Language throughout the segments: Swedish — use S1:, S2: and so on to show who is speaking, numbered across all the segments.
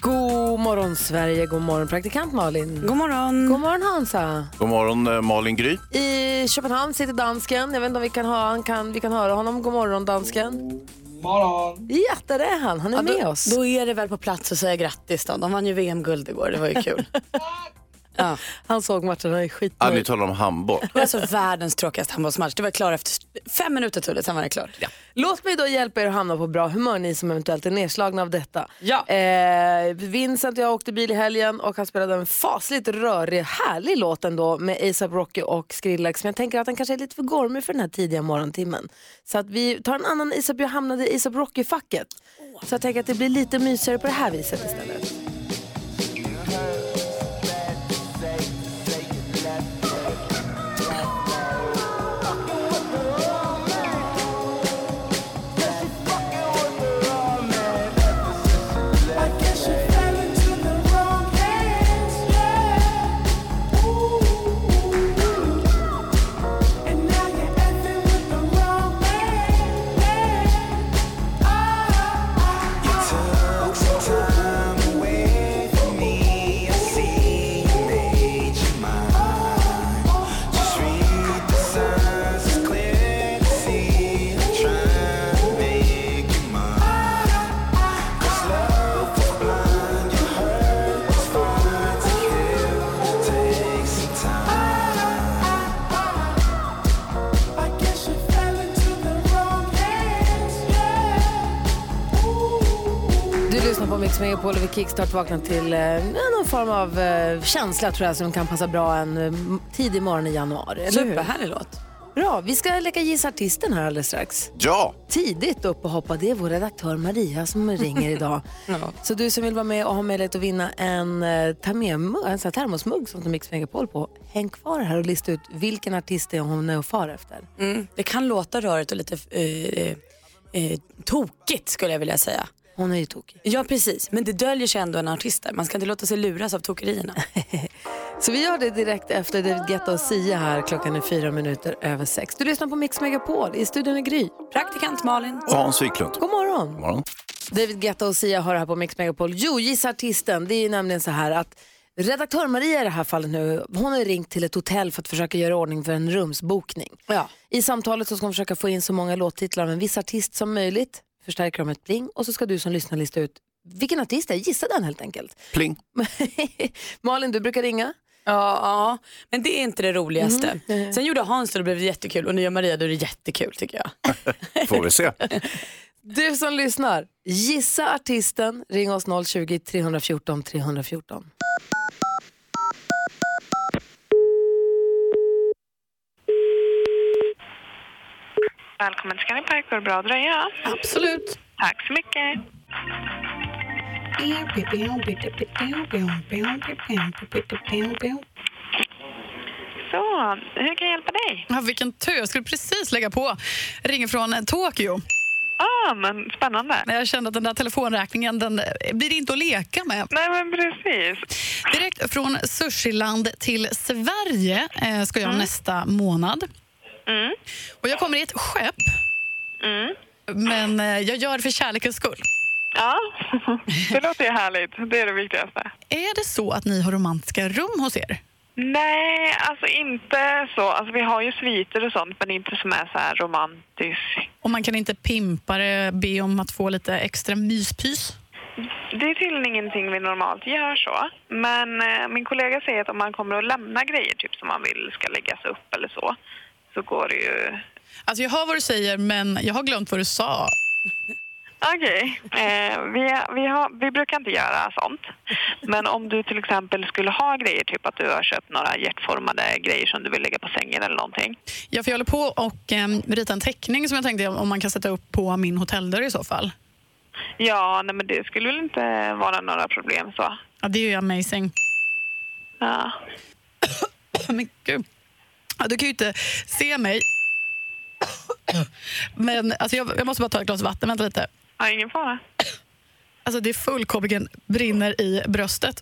S1: God morgon Sverige, god morgon praktikant Malin. God morgon. God morgon Hansa.
S2: God morgon eh, Malin Gry.
S1: I Köpenhamn sitter dansken. Jag vet inte om vi kan, ha, han kan, vi kan höra honom. God morgon dansken.
S3: morgon.
S1: Ja, där är han. Han är
S4: Ja,
S1: med
S4: då,
S1: oss.
S4: Då är det väl på plats att säga grattis då. De vann ju VM-guld igår, det var ju kul. ja.
S1: Han såg matchen, han är skit.
S2: Ah, ni talar om handboll.
S4: Det var alltså världens tråkigaste handbollsmatch. Det var klar efter fem minuter tog det, sen var det klart.
S1: Låt mig då hjälpa er att hamna på bra humör, ni som eventuellt är nedslagna av detta. Ja. Eh, Vincent och jag åkte bil i helgen och han spelade en fasligt rörig, härlig låt ändå med ASAP Rocky och Skrillex. Men jag tänker att den kanske är lite för gormig för den här tidiga morgontimmen. Så att vi tar en annan ASAP, jag hamnade i ASAP Rocky-facket. Så jag tänker att det blir lite mysigare på det här viset istället. Du lyssnar på Mix Megapol och vi kickstart vaknar till eh, någon form av eh, känsla tror jag som kan passa bra en eh, tidig morgon i januari. eller hur?
S4: Superhärlig låt.
S1: Bra, vi ska leka Gissa artisten här alldeles strax.
S2: Ja,
S1: Tidigt upp och hoppa, det är vår redaktör Maria som ringer idag. Så du som vill vara med och ha möjlighet att vinna en, eh, ta med en, mugg- en sån här termosmugg som står Mix Megapol på, häng kvar här och lista ut vilken artist det är hon är och far efter.
S4: Mm. Det kan låta rörigt och lite eh, eh, tokigt skulle jag vilja säga.
S1: Hon är ju tokig.
S4: Ja, precis. Men det döljer sig ändå en artist där. Man ska inte låta sig luras av tokerierna.
S1: Så vi gör det direkt efter David Guetta och Sia här, klockan är fyra minuter över sex. Du lyssnar på Mix Megapol, i studion är Gry.
S4: Praktikant Malin.
S2: och Hans Wiklund.
S1: God morgon!
S2: God morgon.
S1: David Guetta och Sia har det här på Mix Megapol. Jo, gissa artisten. Det är ju nämligen så här att redaktör Maria i det här fallet nu, hon har ju ringt till ett hotell för att försöka göra i ordning för en rumsbokning.
S4: Ja.
S1: I samtalet så ska hon försöka få in så många låttitlar av en viss artist som möjligt, förstärka dem med ett pling och så ska du som lyssnar lista ut vilken artist det är, gissa den helt enkelt.
S2: Pling.
S1: Malin, du brukar ringa.
S4: Ja, ja, men det är inte det roligaste.
S1: Mm.
S4: Sen gjorde Hans det och det blev jättekul och nu gör Maria då är det jättekul tycker jag.
S2: Får vi se.
S1: Du som lyssnar, gissa artisten, ring oss 020-314 314.
S5: Välkommen till Scandic Park, går det bra att dröja?
S4: Absolut.
S5: Tack så mycket. Så, hur kan jag hjälpa dig?
S6: Ja, vilken tur, jag skulle precis lägga på. Jag ringer från eh, Tokyo.
S5: Ah, men spännande.
S6: Men Jag kände att den där telefonräkningen den eh, blir inte att leka med.
S5: Nej, men precis.
S6: Direkt från sushiland till Sverige eh, ska jag nästa månad.
S5: Mm.
S6: Och jag kommer i ett skepp,
S5: Mm.
S6: men eh, jag gör det för kärlekens skull.
S5: Ja, det låter ju härligt. Det är det viktigaste.
S6: Är det så att ni har romantiska rum hos er?
S5: Nej, alltså inte så. Alltså, vi har ju sviter och sånt, men inte som är så här romantisk.
S6: Och man kan inte pimpa det, be om att få lite extra myspys?
S5: Det är tydligen ingenting vi normalt gör så. Men eh, min kollega säger att om man kommer att lämna grejer typ som man vill ska läggas upp eller så, så går det ju...
S6: Alltså jag hör vad du säger, men jag har glömt vad du sa.
S5: Okej. Eh, vi, vi, har- vi brukar inte göra sånt. Men om du till exempel skulle ha grejer, typ att du har köpt några hjärtformade grejer som du vill lägga på sängen eller någonting.
S6: Ja, för jag håller på och eh, rita en teckning som jag tänkte om man kan sätta upp på min hotelldörr i så fall.
S5: Ja, nej men det skulle väl inte vara några problem så.
S6: Ja, det är ju amazing.
S5: Ja.
S6: men gud. Ja, du kan ju inte se mig. Men alltså, jag, jag måste bara ta ett glas vatten. Vänta lite.
S5: Ja, ingen fara.
S6: Alltså, det är fullkomligen brinner i bröstet.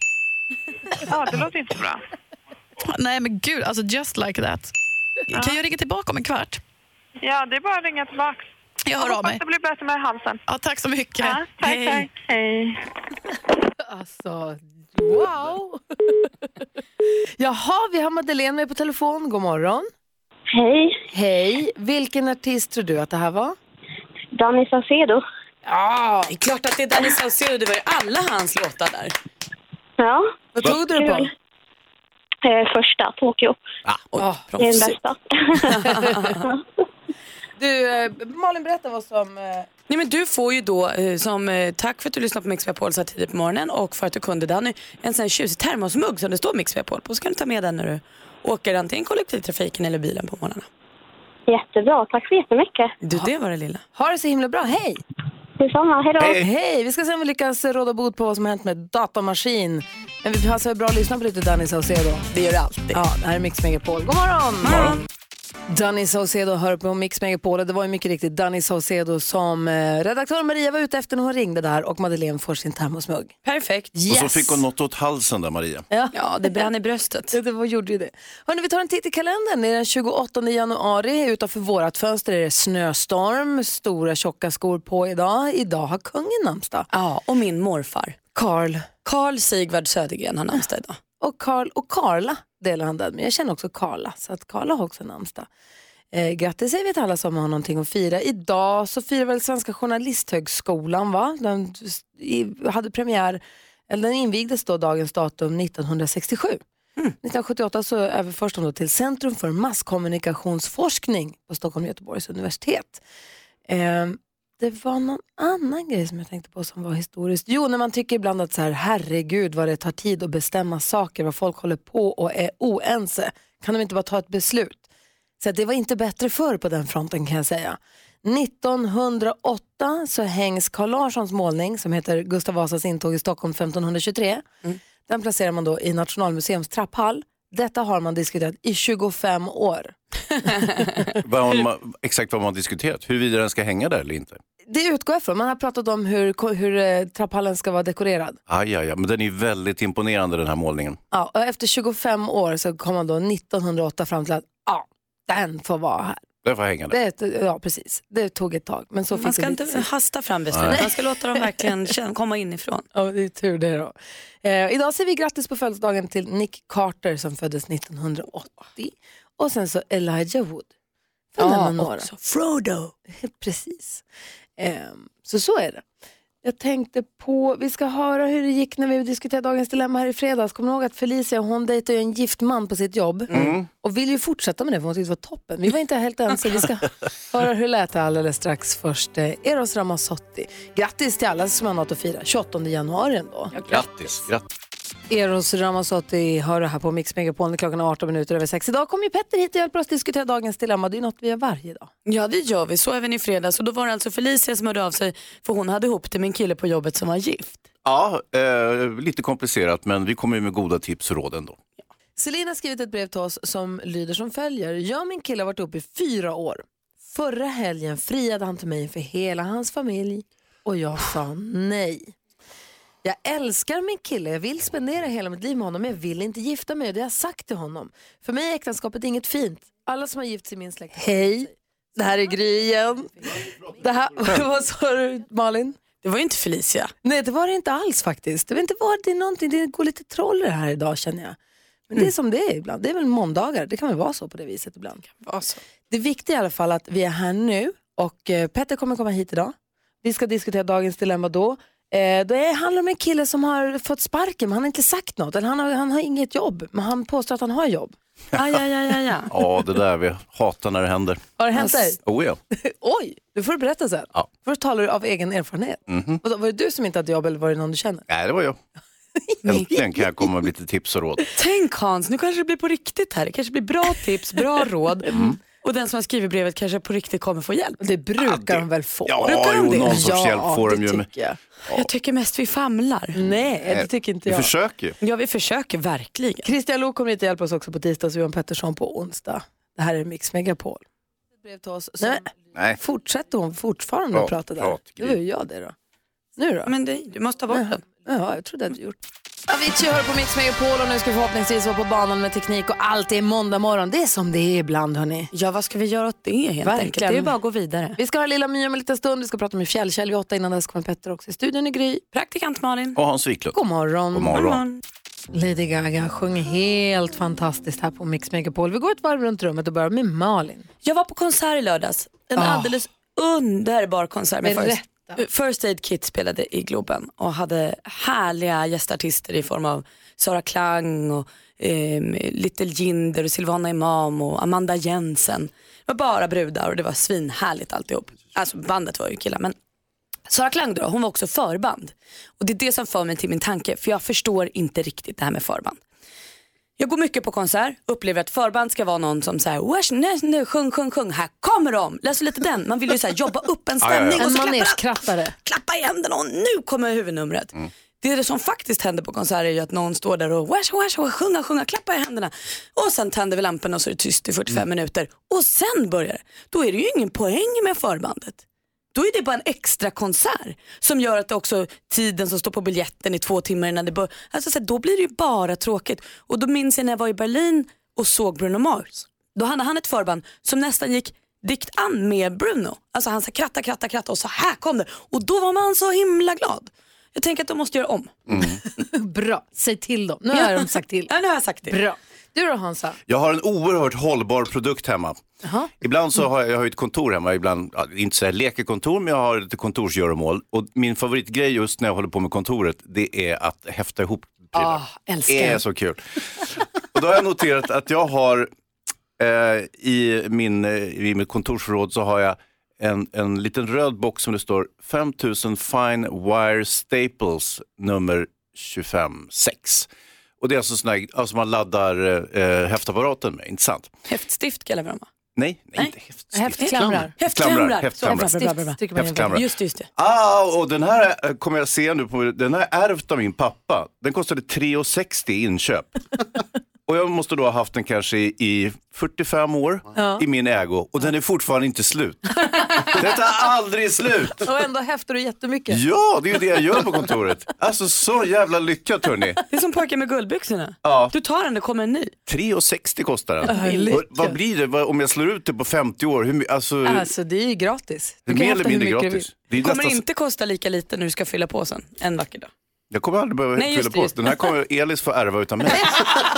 S5: Ja, det låter inte så bra.
S6: Nej, men gud. Alltså, just like that. Kan jag ringa tillbaka om en kvart?
S5: Ja, det är bara att ringa tillbaks.
S6: Jag hör av
S5: Hoppas
S6: mig.
S5: det blir bättre med halsen.
S6: Ja, tack så mycket.
S5: Ja, tack,
S6: Hej.
S5: tack. Hej.
S1: Alltså, wow! Jaha, vi har Madeleine med på telefon. God morgon.
S7: Hej,
S1: Hej. Vilken artist tror du att det här var?
S7: Danny Saucedo.
S1: Ja,
S4: Det är klart att det är Danny Saucedo, det var ju alla hans låtar där.
S7: Ja,
S1: vad tog du det på?
S7: eh, första, Tokyo.
S4: Oj,
S1: Ah,
S7: Det är
S4: proffsigt.
S7: den bästa.
S1: Du, eh, Malin, berätta vad som... eh,
S4: Nej, men du får ju då, eh, som eh, tack för att du lyssnade på Mix Megapol så här tidigt på morgonen och för att du kunde Danny, en sån här tjusig termosmugg som det står Mix Megapol på. Så kan du ta med den när du åker antingen kollektivtrafiken eller bilen på morgnarna.
S7: Jättebra, tack så jättemycket.
S4: Du, det var det lilla.
S1: Ha det så himla bra. Hej!
S7: Detsamma, hej då.
S1: Hej! Vi ska se om vi lyckas råda bot på vad som har hänt med datamaskin. Men vi passar bra att lyssna på lite Danny Saucedo.
S4: Det gör det alltid.
S1: Ja, det här är Mix Megapol. God morgon! Danny Saucedo hör på Mix Megapol. Det var ju mycket riktigt Danny Saucedo som eh, redaktör Maria var ute efter när hon ringde där och Madeleine får sin termosmugg.
S4: Perfekt.
S1: Yes!
S2: Och så fick hon något åt halsen där, Maria.
S1: Ja.
S4: Ja, det brann i bröstet.
S1: Det var, gjorde ju det. Hörrni, vi tar en titt i kalendern. Det är den 28 januari. Utanför vårt fönster är det snöstorm. Stora tjocka skor på idag. Idag har kungen namnsdag.
S4: Ja, och min morfar.
S1: Karl.
S4: Carl Sigvard Södergren har namnsdag idag.
S1: och Karl och Karla delar han den med. Jag känner också Karla, så att Karla har också namnsdag. Eh, grattis säger vi till alla som har någonting att fira. Idag så firar väl Svenska Journalisthögskolan, va? Den s- i, hade premiär, eller den invigdes då dagens datum 1967. 1978 så överförs de då till Centrum för masskommunikationsforskning på Stockholm och Göteborgs universitet. Eh, det var någon annan grej som jag tänkte på som var historiskt. Jo, när man tycker ibland att så här, herregud vad det tar tid att bestämma saker, vad folk håller på och är oense. Kan de inte bara ta ett beslut? Så att det var inte bättre förr på den fronten kan jag säga. 1908 så hängs Carl Larssons målning som heter Gustav Vasas intåg i Stockholm 1523.
S4: Mm.
S1: Den placerar man då i Nationalmuseums trapphall. Detta har man diskuterat i 25 år.
S2: Vad har man, exakt vad man har diskuterat, huruvida den ska hänga där eller inte.
S1: Det utgår jag från. Man har pratat om hur, hur eh, trapphallen ska vara dekorerad.
S2: Aj, aj, aj. Men den är ju väldigt imponerande den här målningen.
S1: Ja, och efter 25 år så kom man då 1908 fram till att ja, den får vara här.
S2: Den får hänga där.
S1: Det, ja, precis. Det tog ett tag. Men så
S4: Man
S1: fick
S4: ska
S1: det lite
S4: inte hasta fram beslut, man ska låta dem verkligen känna- komma inifrån.
S1: Ja, det är tur det då. Eh, idag säger vi grattis på födelsedagen till Nick Carter som föddes 1980. Och sen så Elijah Wood. För ja, några.
S4: också. Frodo.
S1: Precis. Eh, så så är det. Jag tänkte på, vi ska höra hur det gick när vi diskuterade dagens dilemma här i fredags. Kommer ni ihåg att Felicia, hon dejtar ju en gift man på sitt jobb och vill ju fortsätta med det för hon tyckte det var toppen. Vi var inte helt ense. Vi ska höra hur det lät alldeles strax. Först eh, Eros Ramazzotti. Grattis till alla som har något att fira. 28 januari ändå.
S2: Grattis. Grattis.
S1: Eros Ramazzotti hör du här på Mix Megapol. Klockan är 18 minuter över sex. Idag kommer ju Petter hit och hjälper oss diskutera dagens dilemma. Det är något vi gör varje dag.
S4: Ja det gör vi, så även i fredags. Och då var det alltså Felicia som hörde av sig för hon hade ihop det med en kille på jobbet som var gift.
S2: Ja, eh, lite komplicerat men vi kommer ju med goda tips och råd ändå.
S1: Selina har skrivit ett brev till oss som lyder som följer. Jag och min kille har varit ihop i fyra år. Förra helgen friade han till mig för hela hans familj och jag sa nej. Jag älskar min kille, jag vill spendera hela mitt liv med honom men jag vill inte gifta mig och det har jag sagt till honom. För mig är äktenskapet inget fint. Alla som har gift sig liksom, i min släkt. Hej, det här är Gry igen. Det här, vad sa du Malin?
S4: Det var ju inte Felicia.
S1: Nej, det var det inte alls faktiskt. Det, var inte var det, är någonting, det går lite troll i det här idag känner jag. Men
S4: Mm.
S1: det är som det är ibland. Det är väl måndagar. Det kan väl vara så på det viset ibland. Det viktiga i alla fall att vi är här nu och eh, Petter kommer komma hit idag. Vi ska diskutera dagens dilemma då. Eh, det handlar om en kille som har fått sparken men han har inte sagt något. Eller han, har, han har inget jobb men han påstår att han har jobb.
S4: Aj, aj, aj, aj, aj.
S2: Ja, det där vi hatar när det händer.
S1: Har det hänt dig?
S2: Oh, ja.
S1: Oj, du får du berätta sen.
S2: Ja.
S1: Först talar du av egen erfarenhet. Och då, var det du som inte hade jobb eller var det någon du känner?
S2: Mhm. Nej, det var jag. Äntligen kan jag komma med lite tips och råd.
S4: Tänk Hans, nu kanske det blir på riktigt här. Det kanske blir bra tips, bra råd. Och den som har skrivit brevet kanske på riktigt kommer få hjälp.
S1: Mm. Det brukar de väl få?
S2: Ja,
S4: brukar
S2: jo, någon sorts hjälp får de ju. men-
S4: jag. Jag tycker mest vi famlar.
S1: Nej, det
S2: Nej,
S1: tycker inte
S2: vi
S1: jag.
S2: försöker ju.
S4: Ja, vi försöker verkligen.
S1: Christian Lok kommer hit och hjälper oss också på tisdag, så Johan Pettersson på onsdag. Det här är Mix Megapol. Brev till oss. Nej, men
S2: Nej.
S1: fortsätter hon fortfarande
S2: Prat,
S1: att prata där?
S2: prat,
S1: det var ju jag det då. Nu då?
S4: Men det, du måste ta bort den.
S1: Ja, jag trodde att du gjort. Avicii hör på Mix Megapol och nu ska vi förhoppningsvis vara på banan med teknik och allt är måndag morgon. Det är som det är ibland hörni.
S4: Ja, vad ska vi göra åt det helt
S1: Verkligen.
S4: enkelt? Det är ju bara att gå vidare.
S1: Vi ska ha lilla My om en liten stund, vi ska prata med Fjällkäll vid åtta, innan dess kommer Petter också i studion i Gry.
S4: Praktikant Malin.
S2: Och Hans Wiklund.
S1: God morgon.
S2: God morgon.
S1: Lady Gaga sjöng helt fantastiskt här på Mix Megapol. Vi går ett varv runt rummet och börjar med Malin.
S4: Jag var på konsert i lördags. En
S1: Ah.
S4: alldeles underbar konsert. Med
S1: Berätta.
S4: First, First Aid Kit spelade i Globen och hade härliga gästartister i form av Sara Klang, och, ehm, Little Jinder, och Silvana Imam och Amanda Jensen. Det var bara brudar och det var svinhärligt alltihop. Alltså bandet var ju killar men Sara Klang då, hon var också förband. Och det är det som för mig till min tanke för jag förstår inte riktigt det här med förband. Jag går mycket på konsert, upplever att förband ska vara någon som säger "Wash, nej, nej, sjung, sjung, sjung, här kommer de. Läs lite den. Man vill ju så här, jobba upp en
S2: Ja, ja, ja.
S4: stämning och
S1: En
S4: så klappar alla
S1: manegkrattare.
S4: klappa i händerna och nu kommer huvudnumret.
S2: Mm.
S4: Det, är det som faktiskt händer på konserter är ju att någon står där och wash, wash, wash, sjunga, sjunga, klappa i händerna. Och sen tänder vi lamporna och så är det tyst i 45
S2: Mm.
S4: minuter. Och sen börjar det. Då är det ju ingen poäng med förbandet. Då är det bara en extra konsert som gör att det också tiden som står på biljetten i två timmar innan det börjar. Alltså, så här, då blir det ju bara tråkigt. Och då minns jag när jag var i Berlin och såg Bruno Mars. Då hade han ett förband som nästan gick dikt an med Bruno. Alltså han sa kratta, kratta, kratta och så här kom det. Och då var man så himla glad. Jag tänker att de måste göra om.
S2: Mm.
S1: Bra, säg till dem. Nu har de sagt till.
S4: Ja, nu har jag sagt det.
S1: Bra. Du då Hansa?
S2: Jag har en oerhört hållbar produkt hemma. Ibland så har jag, jag har ju ett kontor hemma, ibland, ja, inte så här lekekontor, men jag har lite kontorsgöromål. Och min favoritgrej just när jag håller på med kontoret, det är att häfta ihop prylar.
S1: älskar.
S2: Det Ah, är så kul. Och då har jag noterat att jag har, eh, i, min, eh, i mitt kontorsförråd så har jag en, en liten röd box som det står 5000 Fine Wire Staples nummer 256. Och det är alltså sån här, alltså man laddar eh, eh, häftapparaten med, inte sant?
S4: Häftstift kallar vi dem va?
S2: Nej, nej, inte häftstift.
S1: Häftklamrar.
S4: Häftklamrar.
S2: Häftklamrar.
S4: Så, bra, bra, bra, bra.
S1: Stift trycker man in.
S2: Häftklamrar.
S4: Just det, just det.
S2: Ah, och den här eh, kommer jag se nu, på, den här är ärvt av min pappa. Den kostade 3,60 i inköp. och jag måste då ha haft den kanske i, i 45 år i min ägo och den är fortfarande inte slut. den tar aldrig slut.
S1: Och ändå häftar du jättemycket.
S2: Ja, det är ju det jag gör på kontoret. Alltså så jävla lyckat hörni.
S4: Det är som pojkar med guldbyxorna.
S2: Ja.
S4: Du tar den, det kommer en ny.
S2: 3,60 kostar den.
S1: Härligt.
S2: Och, vad blir det vad, om jag slår ut det på 50 år? Hur, my- alltså,
S1: Alltså det är ju gratis.
S2: det är
S1: kan
S2: mer
S1: häfta
S2: eller
S1: hur
S2: mindre
S1: mycket du
S2: gratis.
S1: vill.
S2: Det är
S4: kommer
S2: nästan så-
S4: inte kosta lika lite när du ska fylla på sen en vacker dag.
S2: Jag kommer aldrig behöva
S4: Nej, just
S2: fylla
S4: det,
S2: på.
S4: just det.
S2: Den här kommer Elis få ärva utan mig.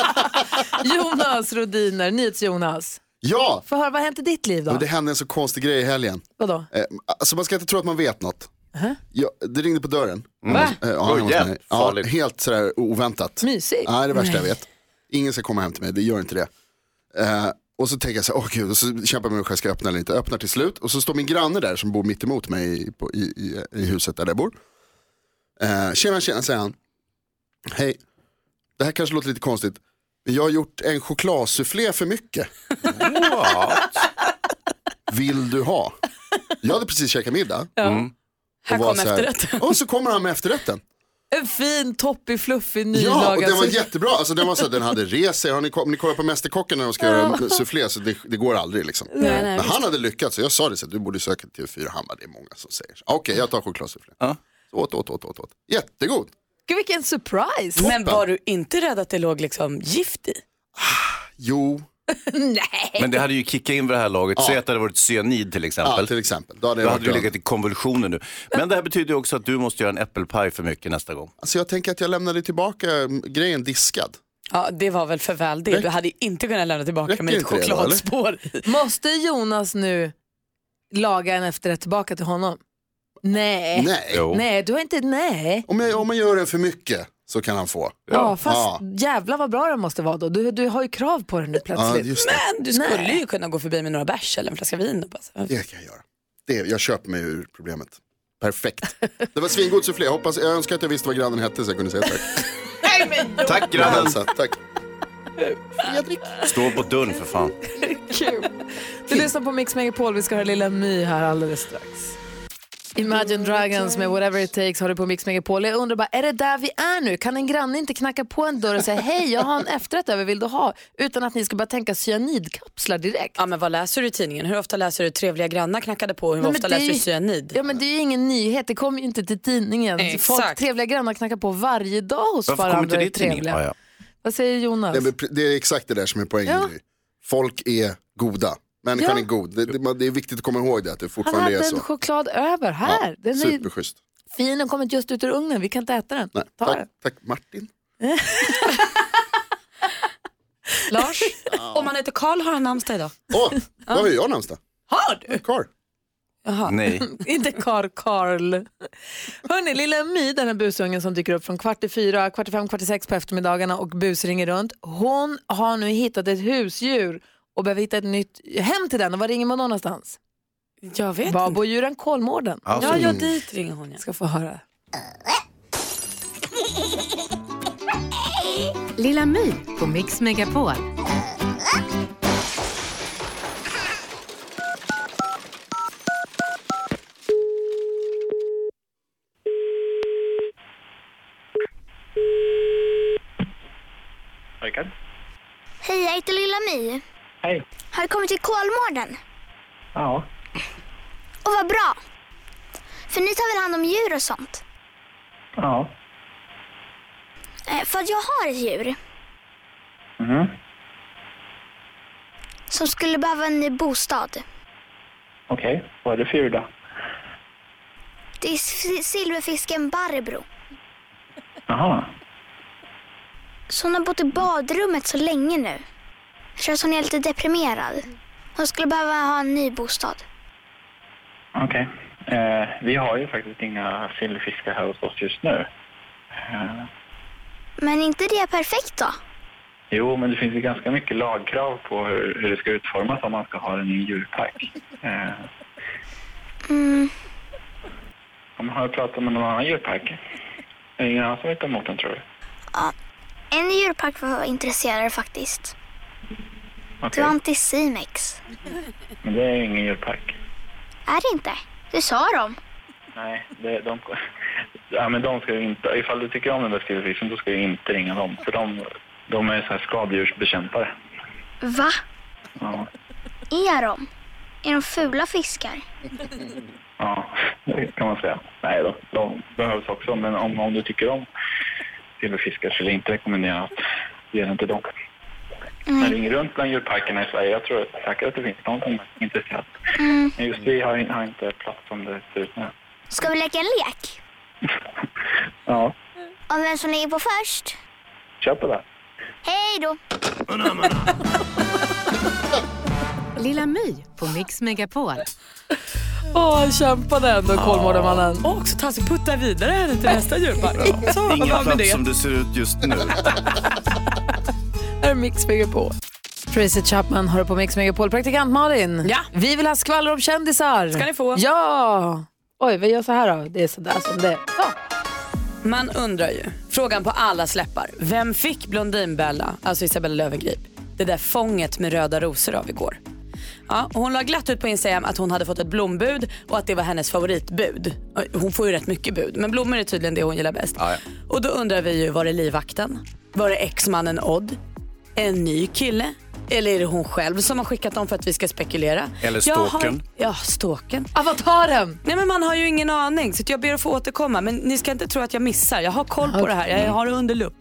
S1: Jonas Rodiner, NyhetsJonas.
S8: Ja,
S1: Få höra, vad har hänt i ditt liv då?
S8: men det hände en så konstig grej i helgen.
S1: Vadå?
S8: Eh, alltså man ska inte tro att man vet något. Ja, det ringde på dörren.
S1: Va?
S8: Eh, ja,
S2: Oj,
S8: hemma hos
S2: jävligt
S8: mig.
S2: farligt.
S8: ja, helt sådär oväntat.
S1: Mysigt.
S8: Nej, det värsta jag vet. Ingen ska komma hem till mig, det gör inte det. Eh, och så tänker jag så här, åh gud, och så kämpar jag med mig själv, ska jag öppna eller inte? Öppnar till slut och så står min granne där som bor mitt emot mig i, på, i, i, i huset där jag bor. Eh, tjena, tjena, säger han. Hej, det här kanske låter lite konstigt, men jag har gjort en chokladsufflé för mycket.
S2: What?
S8: Vill du ha? Jag hade precis käkat middag. Mm.
S4: Här
S8: var
S4: kom
S8: så här-
S4: efterrätten.
S8: Och så kommer han med efterrätten.
S1: En fin, toppig, fluffig,
S8: Ja, och
S1: nylagad
S8: den var
S1: sushi.
S8: jättebra. Alltså, den, var så här, den hade rest sig. Har ni, ko- ni kollar på Mästerkocken när de ska göra soufflé så det, det går aldrig. Liksom.
S4: nej,
S8: Men
S4: visst.
S8: han hade lyckats. Så jag sa det, så här, du borde söka till TV4 Hammar. Det är många som säger så. Ah, Okej, jag tar chokladsufflé.
S2: Ja.
S8: Så Åt, åt, åt, åt, åt. Jättegod.
S1: Gud, vilken surprise.
S4: Men var du inte rädd att det låg liksom gift i?
S8: Jo,
S2: Men det hade ju kickat in vid det här laget. Säg att det hade varit cyanid till
S8: ja,
S2: exempel.
S8: till exempel. Då hade
S2: Då
S8: jag
S2: hade
S8: varit
S2: du
S8: glad.
S2: legat i konvulsioner nu. Men det här betyder ju också att du måste göra en äppelpaj för mycket nästa gång.
S8: alltså, jag tänker att jag lämnade tillbaka mm, grejen diskad.
S4: Ja, det var väl för väl det. Du hade ju inte kunnat lämna tillbaka
S8: Räcker
S4: med ett
S8: inte det då, eller?
S4: chokladspår. i.
S1: Måste Jonas nu laga en efterrätt tillbaka till honom? Nej.
S8: Nej,
S2: Jo.
S1: Nej, du har inte, nej.
S8: om, jag, om man gör den för mycket så kan han få.
S1: Ja, fast
S8: Ja.
S1: jävla vad bra den måste vara då. Du, du har ju krav på den nu
S8: Ja,
S1: plötsligt.
S8: just det.
S4: Men du skulle ju kunna gå förbi med några bärs eller en flaska vin. Och bara, så.
S8: Det kan jag göra. Det, jag köper mig ur problemet. Perfekt. Det var svingod soufflé. Jag, hoppas- jag önskar att jag visste vad grannen hette så jag kunde säga tack.
S2: Tack grannen!
S8: Hälsa, tack.
S1: Fredrik.
S2: Stå på dörren för fan.
S1: Kul. Du lyssnar på Mix Megapol. Vi ska höra Lilla My här alldeles strax. Imagine Dragons med Whatever It Takes har du på Mix Megapol. Jag undrar bara, är det där vi är nu? Kan en granne inte knacka på en dörr och säga hej, jag har en efterrätt över, vill du ha? Utan att ni ska bara tänka cyanidkapslar direkt.
S4: Ja, men vad läser du i tidningen? Hur ofta läser du trevliga grannar knackade på? Hur
S1: Nej, men
S4: ofta
S1: det är
S4: läser du
S1: ju-
S4: cyanid?
S1: Ja men det är ju ingen nyhet, det kommer ju inte till tidningen.
S4: Exakt.
S1: Folk, trevliga grannar knackar på varje dag hos varandra. är trevliga. Vad säger Jonas?
S8: Det, är- det är exakt det där som är poängen.
S1: Ja.
S8: Gry. Folk är goda. Människan
S1: Ja.
S8: är god. Det, det, man- det är viktigt att komma ihåg det, att det
S1: Han
S8: fortfarande är
S1: hade en
S8: så.
S1: choklad över här. den är ju
S8: Superschysst.
S1: fin, den kommit just ut ur ugnen, vi kan inte äta den.
S8: Nej,
S1: Ta
S8: tack,
S1: den.
S8: tack Martin.
S4: Lars, om han heter Karl har han namnsdag idag.
S8: Åh, då har ju jag namnsdag.
S4: Har du?
S8: Karl.
S4: Jaha.
S2: Nej.
S1: Inte Karl Karl. Hörni, lilla My, den här busungen som dyker upp från kvart i fyra, kvart i fem, kvart i sex på eftermiddagarna och busringer runt. Hon har nu hittat ett husdjur och behöver hitta ett nytt hem till den. Och var ringer man då någonstans?
S4: Jag vet
S1: Babodjuren Kolmården.
S4: Ja, ja, dit ringer hon. Ja.
S1: Ska få höra.
S9: Lilla My på Mix Megapol.
S10: Rickard?
S11: Hej, jag heter Lilla My.
S10: Hej.
S11: Har du kommit till Kolmården?
S10: Ja.
S11: Och vad bra! För ni tar väl hand om djur och sånt?
S10: Ja.
S11: Eh, för att jag har ett djur
S10: Mhm.
S11: som skulle behöva en ny bostad.
S10: Okej. Vad är det för djur då?
S11: Det är s- silverfisken Barbro.
S10: Jaha.
S11: Så hon har bott i badrummet så länge nu. Så att hon är lite deprimerad. Hon skulle behöva ha en ny bostad.
S10: Okej. Eh, vi har ju faktiskt inga silverfiskar här hos oss just nu. Eh,
S11: Men är inte det perfekt då?
S10: jo, men det finns ju ganska mycket lagkrav på hur, hur det ska utformas om man ska ha en ny djurpark. Eh,
S11: Mm.
S10: om man har pratat med någon annan djurpark? Är det ingen annan som vet emot den tror du?
S11: Ja. En djurpark var jag intresserad faktiskt. Det
S10: Okej.
S11: var Anticimex.
S10: Men det är ju ingen djurpark.
S11: Är det inte? Det sa de.
S10: Nej, det, de, ja, men de ska ju inte, ifall du tycker om den där silverfisken då ska du inte ringa dem. För de, de är så här skadedjursbekämpare.
S11: Va?
S10: Ja,
S11: Är de? Är de fula fiskar?
S10: ja, det kan man säga. Nej, de, de behövs också. Men om, om du tycker om silverfiskar så är det inte rekommenderat att ge den till dem. Men ring runt bland djurparkerna i Sverige. Jag tror säkert att det finns någon som är intresserad.
S11: Mm.
S10: Men just vi har, in- har inte plats som det ser ut nu.
S11: Ska vi leka en lek?
S10: Ja,
S11: Om vem som ligger på först?
S10: kör på det.
S11: Hej då!
S9: Lilla My på Mix Megapol.
S1: Åh, han kämpade ändå, Kolmårdenmannen.
S4: Och också ta sig putta vidare henne till nästa djurpark. Så, vad
S2: Ingen
S4: var med
S2: plats
S4: det?
S2: som det ser ut just nu.
S1: Här är Mix Megapol. Tracy Chapman har du på Mix Megapol. Praktikant Malin, ja. vi vill ha skvaller om kändisar.
S4: Ska ni få.
S1: Ja! Oj, vi gör så här då. Det är så där som det är.
S4: Man undrar ju, frågan på alla släppar. Vem fick Blondinbella, alltså Isabella Löwengrip, det där fånget med röda rosor av igår? Ja, hon la glatt ut på Instagram att hon hade fått ett blombud och att det var hennes favoritbud. Hon får ju rätt mycket bud, men blommor är tydligen det hon gillar bäst. Och då undrar vi ju, var det livvakten? Var det exmannen Odd? En ny kille? Eller är det hon själv som har skickat dem för att vi ska spekulera?
S2: Eller
S4: Jag har-
S2: stalkern.
S4: Ja, stalken.
S1: Avataren!
S4: Nej men man har ju ingen aning så att jag ber att få återkomma. Men ni ska inte tro att jag missar. Jag har koll på det här. Jag har det under lupp.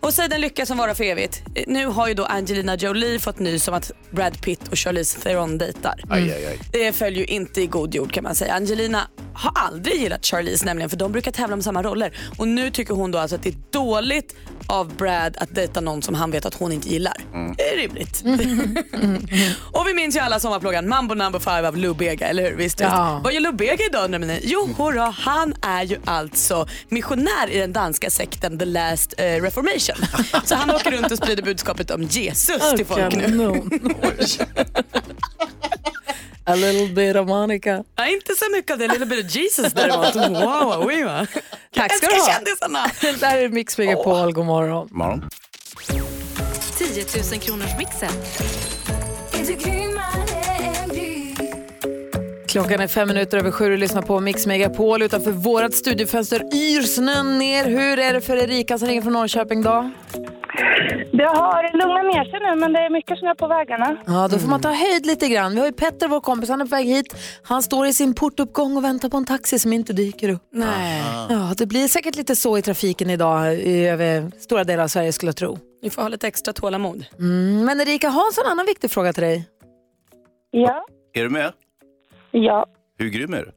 S4: Och säg den lycka som varar för evigt. Eh, Nu har ju då Angelina Jolie fått nys om att Brad Pitt och Charlize Theron dejtar. Mm.
S2: Aj, aj, aj.
S4: Det följer ju inte i god jord kan man säga. Angelina har aldrig gillat Charlize nämligen för de brukar tävla om samma roller. Och nu tycker hon då alltså att det är dåligt av Brad att dejta någon som han vet att hon inte gillar.
S2: Mm.
S4: Det är rimligt.
S9: Mm.
S4: och vi minns ju alla sommarplågan Mambo number five av Lubega, eller hur? Visst,
S1: Ja.
S4: visst. Vad gör Lubega idag undrar ni? Jo, hurra, han är ju alltså missionär i den danska sekten The Last eh, Reformation. Så han åker runt och sprider budskapet om Jesus till folk nu.
S1: A little bit of Monica.
S4: Nej, inte så mycket av det. Lilla bit of Jesus däremot. Wow, oui, va?
S1: Tack ska du
S4: Jag
S1: ha.
S4: älskar kändisarna.
S1: Där är Mix Megapol. God morgon.
S2: Morgon.
S9: 10 10 000 kronors mixen.
S1: Klockan är fem minuter över sju och lyssnar på Mix Megapol. Utanför vårt studiofönster yr snön ner. Hur är det för Erika som ringer från Norrköping då?
S5: Det har lugnat ner sig nu, men det är mycket snö på vägarna.
S1: Ja, då får man ta höjd lite grann. Vi har ju Petter, vår kompis, han är på väg hit. Han står i sin portuppgång och väntar på en taxi som inte dyker upp.
S4: Nej.
S1: Ja, det blir säkert lite så i trafiken idag i över stora delar av Sverige skulle jag tro.
S4: Ni får ha lite extra tålamod.
S1: Mm, men Erika, Hansson, en annan viktig fråga till dig.
S5: Ja.
S2: Är du med?
S5: Ja.
S2: Hur grym är du?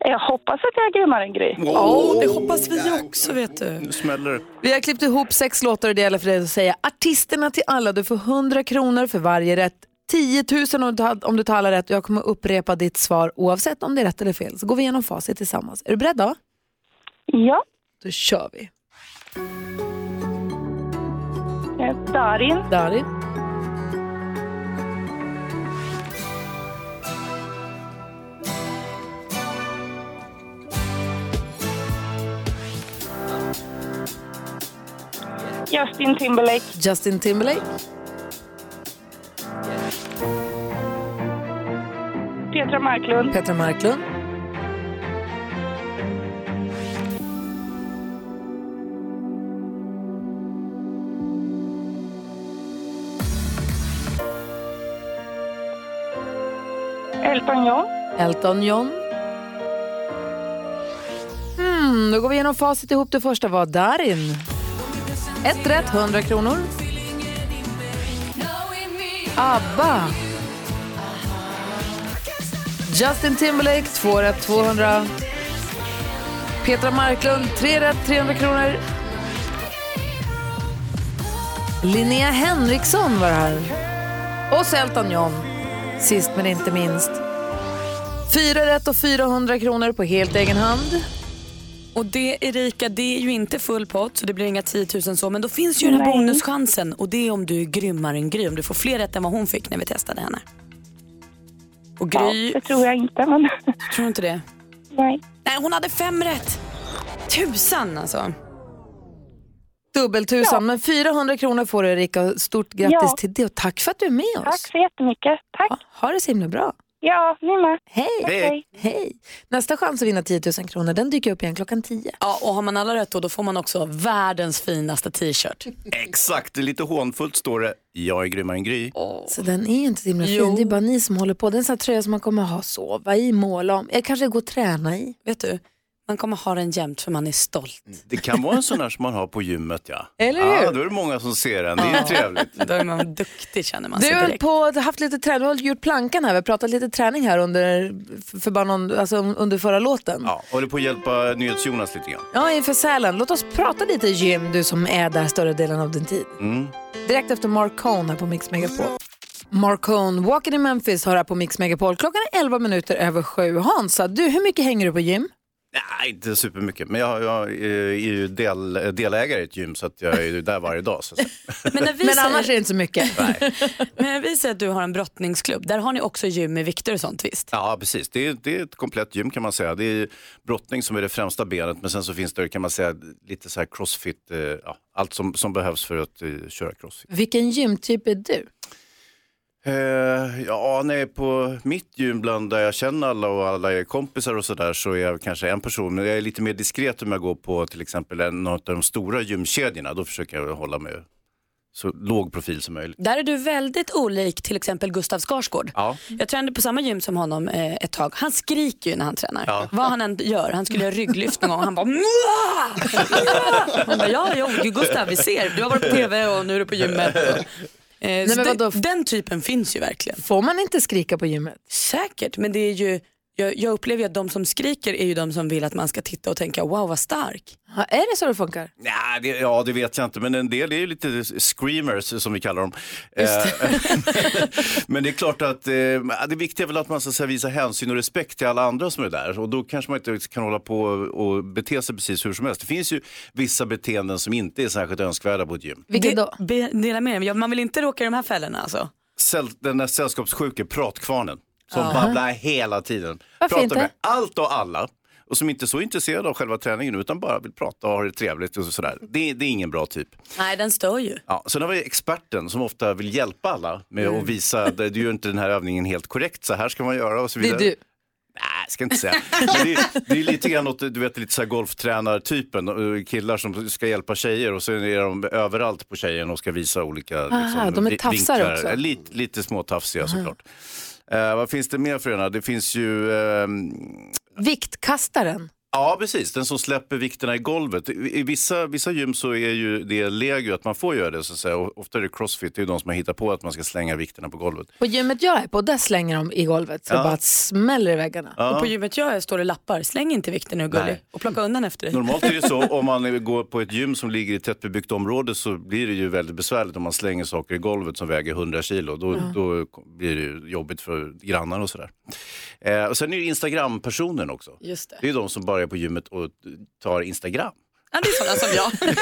S5: Jag hoppas att jag är grymmare än Gry.
S2: Åh, det
S4: hoppas vi också vet du.
S2: Nu smäller det.
S1: Vi har klippt ihop sex låtar och det gäller för dig att säga artisterna till alla. Du får 100 kronor för varje rätt. 10 000 om du, tar, om du tar alla rätt. Jag kommer upprepa ditt svar oavsett om det är rätt eller fel. Så går vi igenom facit tillsammans. Är du beredd då?
S5: Ja.
S1: Då kör vi.
S5: Eh, Darin.
S1: Darin.
S5: Justin Timberlake.
S1: Justin Timberlake.
S5: Petra Marklund.
S1: Petra Marklund.
S5: Elton John.
S1: Elton John. Hmm, då går vi igenom facit ihop. Det första var Darin. Ett rätt, 100 kronor. ABBA. Justin Timberlake, två rätt, 200. Petra Marklund, tre rätt, 300 kronor. Linnea Henriksson var här. Och så Elton John, sist men inte minst. Fyra rätt och 400 kronor på helt egen hand.
S4: Och det Erika, det är ju inte full pott så det blir inga 10 000 så men då finns ju den här
S1: Nej.
S4: bonuschansen och det är om du är grymmare än Gry, om du får fler rätt än vad hon fick när vi testade henne. Och Gry...
S5: det tror jag inte men...
S4: Tror du inte det?
S5: Nej.
S4: Nej, hon hade fem rätt. Tusan alltså.
S1: Dubbeltusan, men 400 kronor får du Erika. Stort grattis
S5: Ja.
S1: till det och tack för att du är med oss.
S5: Tack så jättemycket. Tack.
S1: Ha det så himla bra.
S5: Ja, ni med.
S1: Hej.
S5: Hej.
S1: Hej! Nästa chans att vinna 10 000 kronor den dyker upp igen klockan 10.
S4: Ja, och har man alla rätt då, då får man också världens finaste t-shirt.
S2: Exakt, det är lite hånfullt står det. Jag är grymmare än Gry.
S1: Så den är ju inte så himla fin, det är bara ni som håller på. Det är en sån här tröja som man kommer ha, sova i, måla om, jag kanske gå och träna i.
S4: Vet du, man kommer ha den jämt för man är stolt.
S1: Mm.
S2: Det kan vara en sån här som man har på gymmet ja.
S1: Eller
S2: Ja,
S1: hur?
S2: då är det många som ser den, det är ju trevligt.
S4: Då är man duktig känner man
S1: Du
S4: sig
S1: har
S4: direkt.
S1: hållit på, du har haft lite träning, du har gjort plankan här, vi har pratat lite träning här under, för, för bara någon, alltså, under förra låten.
S2: Ja, håller på att hjälpa NyhetsJonas lite grann.
S1: Ja, inför Sälen. Låt oss prata lite gym, du som är där större delen av din tid.
S2: Mm.
S1: Direkt efter Mark Cohn här på Mix Megapol. Mark Cohn, Walking in Memphis hör här på Mix Megapol. Klockan är 11 minuter över sju. Hansa, du, hur mycket hänger du på gym?
S2: Nej, inte supermycket, men jag, jag eh, är ju del, delägare i ett gym så att jag är ju där varje dag. Så.
S4: Men, när vi
S1: Men
S4: säger-
S1: annars är det inte så mycket.
S4: Men när vi säger att du har en brottningsklubb, där har ni också gym med vikter och sånt visst?
S2: Ja, precis. Det är, det är ett komplett gym kan man säga. Det är brottning som är det främsta benet, men sen så finns det kan man säga lite så här crossfit, eh, ja, allt som, som behövs för att eh, köra crossfit.
S1: Vilken gymtyp är du?
S2: Eh, ja, när jag är på mitt gym bland där jag känner alla och alla är kompisar och sådär så är jag kanske en person. Men jag är lite mer diskret om jag går på till exempel en av de stora gymkedjorna. Då försöker jag hålla mig så låg profil som möjligt.
S4: Där är du väldigt olik till exempel Gustav Skarsgård.
S2: Ja.
S4: Mm. Jag tränade på samma gym som honom eh, ett tag. Han skriker ju när han tränar.
S2: Ja.
S4: Vad han än gör. Han skulle göra rygglyft någon gång och han bara "Mua! Mua!" Han bara, ja, ja, Gustav vi ser. Du har varit på tv och nu är du på gymmet. Och, eh, så
S1: men
S4: det- den typen finns ju verkligen.
S1: Får man inte skrika på gymmet?
S4: Säkert, men det är ju, jag, jag upplever ju att de som skriker är ju de som vill att man ska titta och tänka wow vad stark.
S1: Ja, är det så det funkar?
S2: Nej, det, ja, det vet jag inte, men en del är ju lite screamers som vi kallar dem. Eh, men det är klart att eh, det viktiga är väl att man så att säga, visar hänsyn och respekt till alla andra som är där. Och då kanske man inte kan hålla på och bete sig precis hur som helst. Det finns ju vissa beteenden som inte är särskilt önskvärda på ett gym.
S1: Vilken
S4: det, då? Be, dela med dig. Ja, Man vill inte råka i de här fällorna alltså.
S2: Säll, den där sällskapssjuke pratkvarnen som
S4: Ja.
S2: babblar hela tiden.
S4: Varför
S2: Pratar
S4: inte?
S2: med allt och alla. och som inte är så intresserad av själva träningen utan bara vill prata och ha det trevligt och sådär. Det, det är ingen bra typ.
S4: Nej, den stör ju.
S2: Ja, sen har vi experten som ofta vill hjälpa alla med
S4: Mm.
S2: att visa att du gör inte den här övningen helt korrekt, så här ska man göra och så vidare. Nej, ska inte säga. Men det, är, det är lite grann åt du vet, lite så här golftränartypen, eh, killar som ska hjälpa tjejer och så är de överallt på tjejen och ska visa olika liksom,
S1: Aha, de är
S2: vi-
S1: tafsare
S2: vinklar.
S1: också.
S2: Eh, Lite, lite småtafsiga
S1: Aha.
S2: såklart. Eh, vad finns det mer för ena? Det finns ju ehm,
S12: Viktkastaren.
S2: Ja, precis. Den som släpper vikterna i golvet. I i vissa, vissa gym så är ju det legio att man får göra det. Så att säga. Och ofta är det crossfit, det är ju de som har hittat på att man ska slänga vikterna på golvet.
S1: På gymmet jag är på, där slänger de i golvet så
S2: Ja.
S1: det bara smäller i väggarna.
S2: Ja. Och på
S1: gymmet jag är står det lappar, släng inte vikten nu
S2: gullig. Nej.
S1: och plocka undan efter dig.
S2: Normalt är det så, om man går på ett gym som ligger i ett tättbebyggt område så blir det ju väldigt besvärligt om man slänger saker i golvet som väger 100 kilo. Då,
S13: Ja.
S2: då blir det ju jobbigt för grannar och sådär. Eh, och sen är det ju Instagram-personen också.
S4: Just det.
S2: är ju de som bara är på gymmet och tar Instagram.
S4: Ja, det är sådana som jag.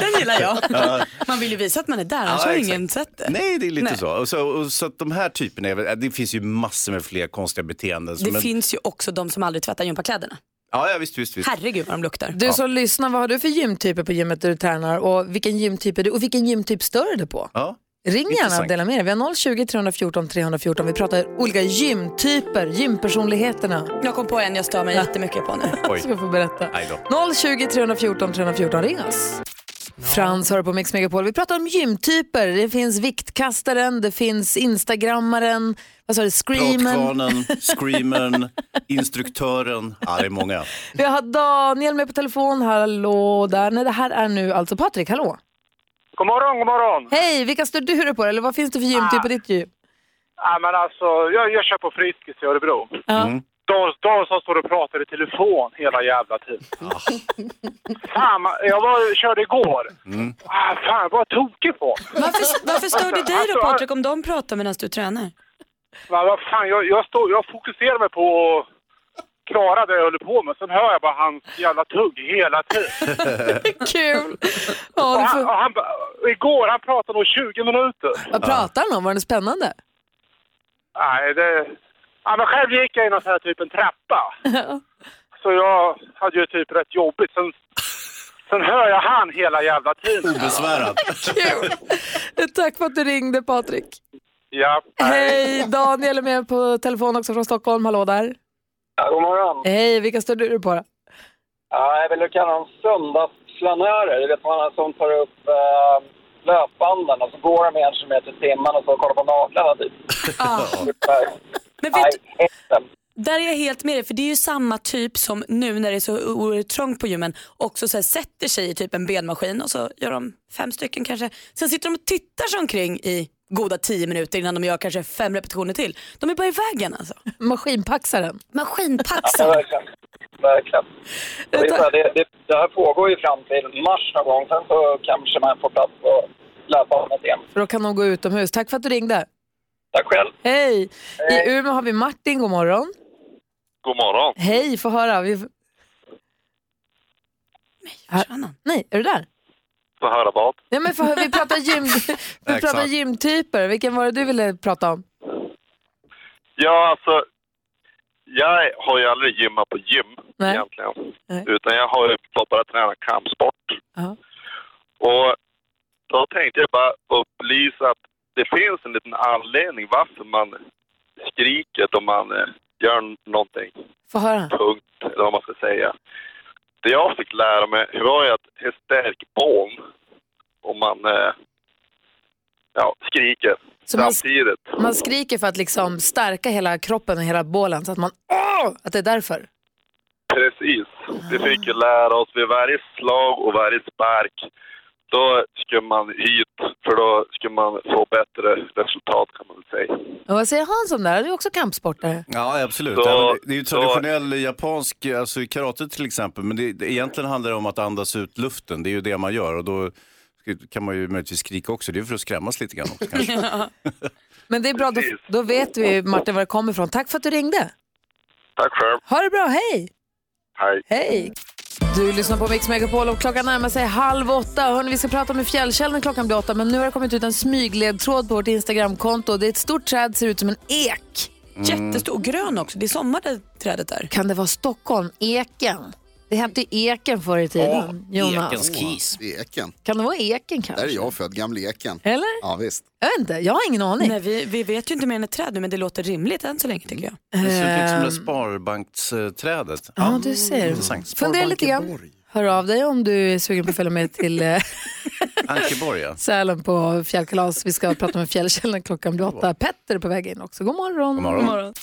S4: den gillar jag.
S2: Ja.
S4: Man vill ju visa att man är där, annars
S2: Ja,
S4: har
S2: exakt.
S4: ingen sett det.
S2: Nej, det är lite
S4: Nej.
S2: så. Och så, och så att de här typerna, är, väl- äh, det finns ju massor med fler konstiga beteenden.
S4: Det
S2: alltså, men-
S4: finns ju också de som aldrig tvättar gympakläderna.
S2: ja, ja, visst, visst, visst.
S4: Herregud vad de luktar.
S1: Du som lyssnar, vad har du för gymtyper på gymmet där du tränar och vilken gymtyp är du och vilken gymtyp stör du dig på?
S2: Ja.
S1: Ring gärna och
S2: Intressant.
S1: dela med dig. Vi har 020 314 314. Vi pratar olika gymtyper, gympersonligheterna.
S4: Jag kom på en jag stör mig jättemycket på nu.
S1: Oj. Ska få berätta.
S2: Nej då.
S1: 020 314 314, ring oss. Frans hör på Mix Megapol. Vi pratar om gymtyper. Det finns viktkastaren, det finns instagrammaren, vad sa du,
S2: Pratkvarnen,
S1: screamern.
S2: screamern, instruktören. Ja, det är många.
S1: Vi har Daniel med på telefon. Hallå där. Nej, det här är nu alltså Patrik. Hallå.
S14: God morgon, god morgon.
S1: Hej, vilka står du dig på? Eller vad finns det för gymtyp på ditt gym?
S14: Ja, men alltså, jag, jag kör på Friskis i Örebro.
S1: Ja.
S14: De, de som står och pratar i telefon hela jävla tiden. Fan, man- jag var, körde igår. Ah, fan, vad tokig på
S4: Varför, varför stör det dig då
S14: Alltså,
S4: Patrik om de pratar medan du tränar?
S14: Men vad fan, jag, jag, står, jag fokuserar mig på att klara det jag håller på med. Sen hör jag bara hans jävla tugg hela tiden.
S1: Kul!
S14: och han, och han, igår, han pratade nog 20 minuter.
S1: Vad pratar han om? Var det spännande?
S14: Nej, det... Ja, men själv gick jag i någon sån här typ en trappa. Så jag hade ju typ rätt jobbigt. Sen, sen hör jag han hela jävla tiden.
S2: Obesvärat.
S1: Tack för att du ringde Patrik.
S14: ja.
S1: Hej, Daniel är med på telefon också från Stockholm. Hallå där.
S15: Ja, god morgon.
S1: Hej, vilka stödde du på då?
S15: Ja, jag vill ju kalla dem söndagsflanörer. Du vet man som tar upp eh, löpbanden och så går de en kilometer i timmen och så kollar på naglarna typ.
S4: Men vet du, där är jag helt med dig, för det är ju samma typ som nu när det är så oerhört trångt på gymmen också så här, sätter sig i typ en benmaskin och så gör de fem stycken kanske. Sen sitter de och tittar sig omkring i goda tio minuter innan de gör kanske fem repetitioner till. De är bara i vägen alltså.
S1: Maskinpaxaren.
S15: Ja,
S4: Maskinpaxaren.
S15: verkligen. verkligen. Det, är så här, det, det, det här pågår ju fram till mars någon gång. Sen så kanske man får plats på löpbandet igen.
S1: För då kan de gå utomhus. Tack för att du ringde.
S15: Tack själv.
S1: Hej! I Umeå har vi Martin, god morgon.
S16: God morgon.
S1: Hej, få höra. Vi... Nej, Nej, är du där?
S16: Få höra vad?
S1: Ja, men få höra, vi pratar, gym... vi pratar
S16: Exakt.
S1: gymtyper. Vilken var det du ville prata om?
S16: Ja, alltså. Jag har ju aldrig gymmat på gym
S1: Nej.
S16: egentligen.
S1: Nej.
S16: Utan jag har ju bara börjat träna kampsport.
S1: Ja.
S16: Och då tänkte jag bara upplysa att det finns en liten anledning varför man skriker då man eh, gör någonting.
S1: Få höra.
S16: Punkt, eller vad man ska säga. Det jag fick lära mig det var ju att en stärk bån om man eh, ja, skriker
S1: Så man-
S16: samtidigt.
S1: Man skriker för att liksom stärka hela kroppen och hela bålen så att man Åh! att det är därför.
S16: Precis.
S17: Ah.
S16: Vi fick ju lära oss vid varje slag och varje spark. Då skulle man hit, för då skulle man få bättre resultat kan man väl säga.
S1: Och vad säger han som där? Han är ju också kampsportare.
S2: Ja, absolut.
S16: Så-
S2: Ja, men det- det är ju
S16: så-
S2: traditionell japansk, alltså i karate till exempel, men det, det, egentligen handlar det om att andas ut luften. Det är ju det man gör och då kan man ju möjligtvis skrika också. Det är ju för att skrämmas lite grann också kanske.
S1: Men det är bra, då, då vet vi Martin var det kommer ifrån. Tack för att du ringde.
S16: Tack själv.
S1: Ha det bra, hej!
S16: Hej.
S1: Hej! Du lyssnar på Mix Megapol och klockan närmar sig halv åtta. Hörrni, vi ska prata om hur fjällkällan klockan blir åtta men nu har det kommit ut en smygledtråd på vårt Instagramkonto. Det är ett stort träd, ser ut som en ek.
S4: Jättestor och grön också. Det är sommar det trädet där.
S1: Kan det vara Stockholm? Eken? Det hette Eken förr i tiden, Jonas.
S8: Eken.
S1: Kan det vara Eken
S8: Där
S1: kanske?
S8: är jag född, gamle Eken.
S1: Eller?
S8: Ja, visst.
S1: Jag vet inte, jag har ingen aning.
S4: Nej, vi, vi vet ju inte mer än ett träd nu men det låter rimligt än så länge tycker jag.
S2: Mm. Det ser ut lite som det där sparbanksträdet.
S1: Ja, du ser. Fundera lite grann. Hör av dig om du är sugen på att följa med till eh,
S2: Ankeborg, ja.
S1: Sälen på fjällkalas. Vi ska prata med fjällkällan klockan blir åtta. Petter är på väg in också. God morgon.
S2: God morgon. God morgon.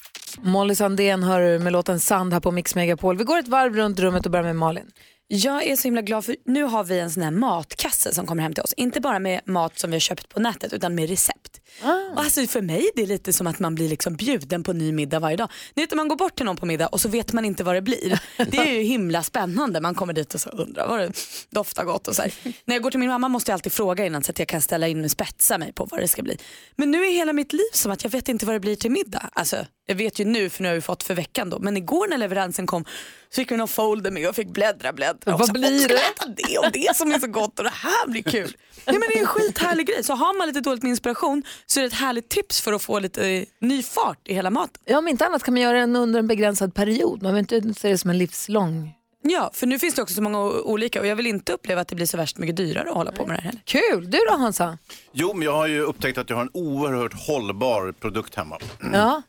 S1: Molly Sandén hör du med låten Sand här på Mix Megapol. Vi går ett varv runt rummet och börjar med Malin.
S4: Jag är så himla glad Eh, för nu har vi en sån här matkasse som kommer hem till oss. Inte bara med mat som vi har köpt på nätet utan med recept.
S1: Ah.
S4: Och Alltså för mig är det lite som att man blir liksom bjuden på ny middag varje dag. Ni vet om man går bort till någon på middag och så vet man inte vad det blir. Det är ju himla spännande. Man kommer dit och så undrar vad det doftar gott och så här. När jag går till min mamma måste jag alltid fråga innan så att jag kan ställa in och spetsa mig på vad det ska bli. Men nu är hela mitt liv som att jag vet inte vad det blir till middag. Alltså jag vet ju nu för nu har vi fått för veckan då. Men igår när leveransen kom så fick vi någon folder med och fick bläddra, bläddra. Och
S1: Vad
S4: så här,
S1: blir
S4: "Åh, ska
S1: det?"
S4: jag äta det och det som är så gott och det här blir kul. Nej, men det är en skithärlig grej. Så har man lite dåligt med inspiration så är det ett härligt tips för att få lite eh, ny fart i hela maten.
S1: Ja, om inte annat kan man göra den under en begränsad period. Man behöver inte se det som en livslång.
S4: Ja, för nu finns det också så många o- olika och jag vill inte uppleva att det blir så värst mycket dyrare att hålla på med det här heller.
S1: Kul! Du då Hansa?
S2: Jo, men jag har ju upptäckt att jag har en oerhört hållbar produkt hemma.
S1: Ja.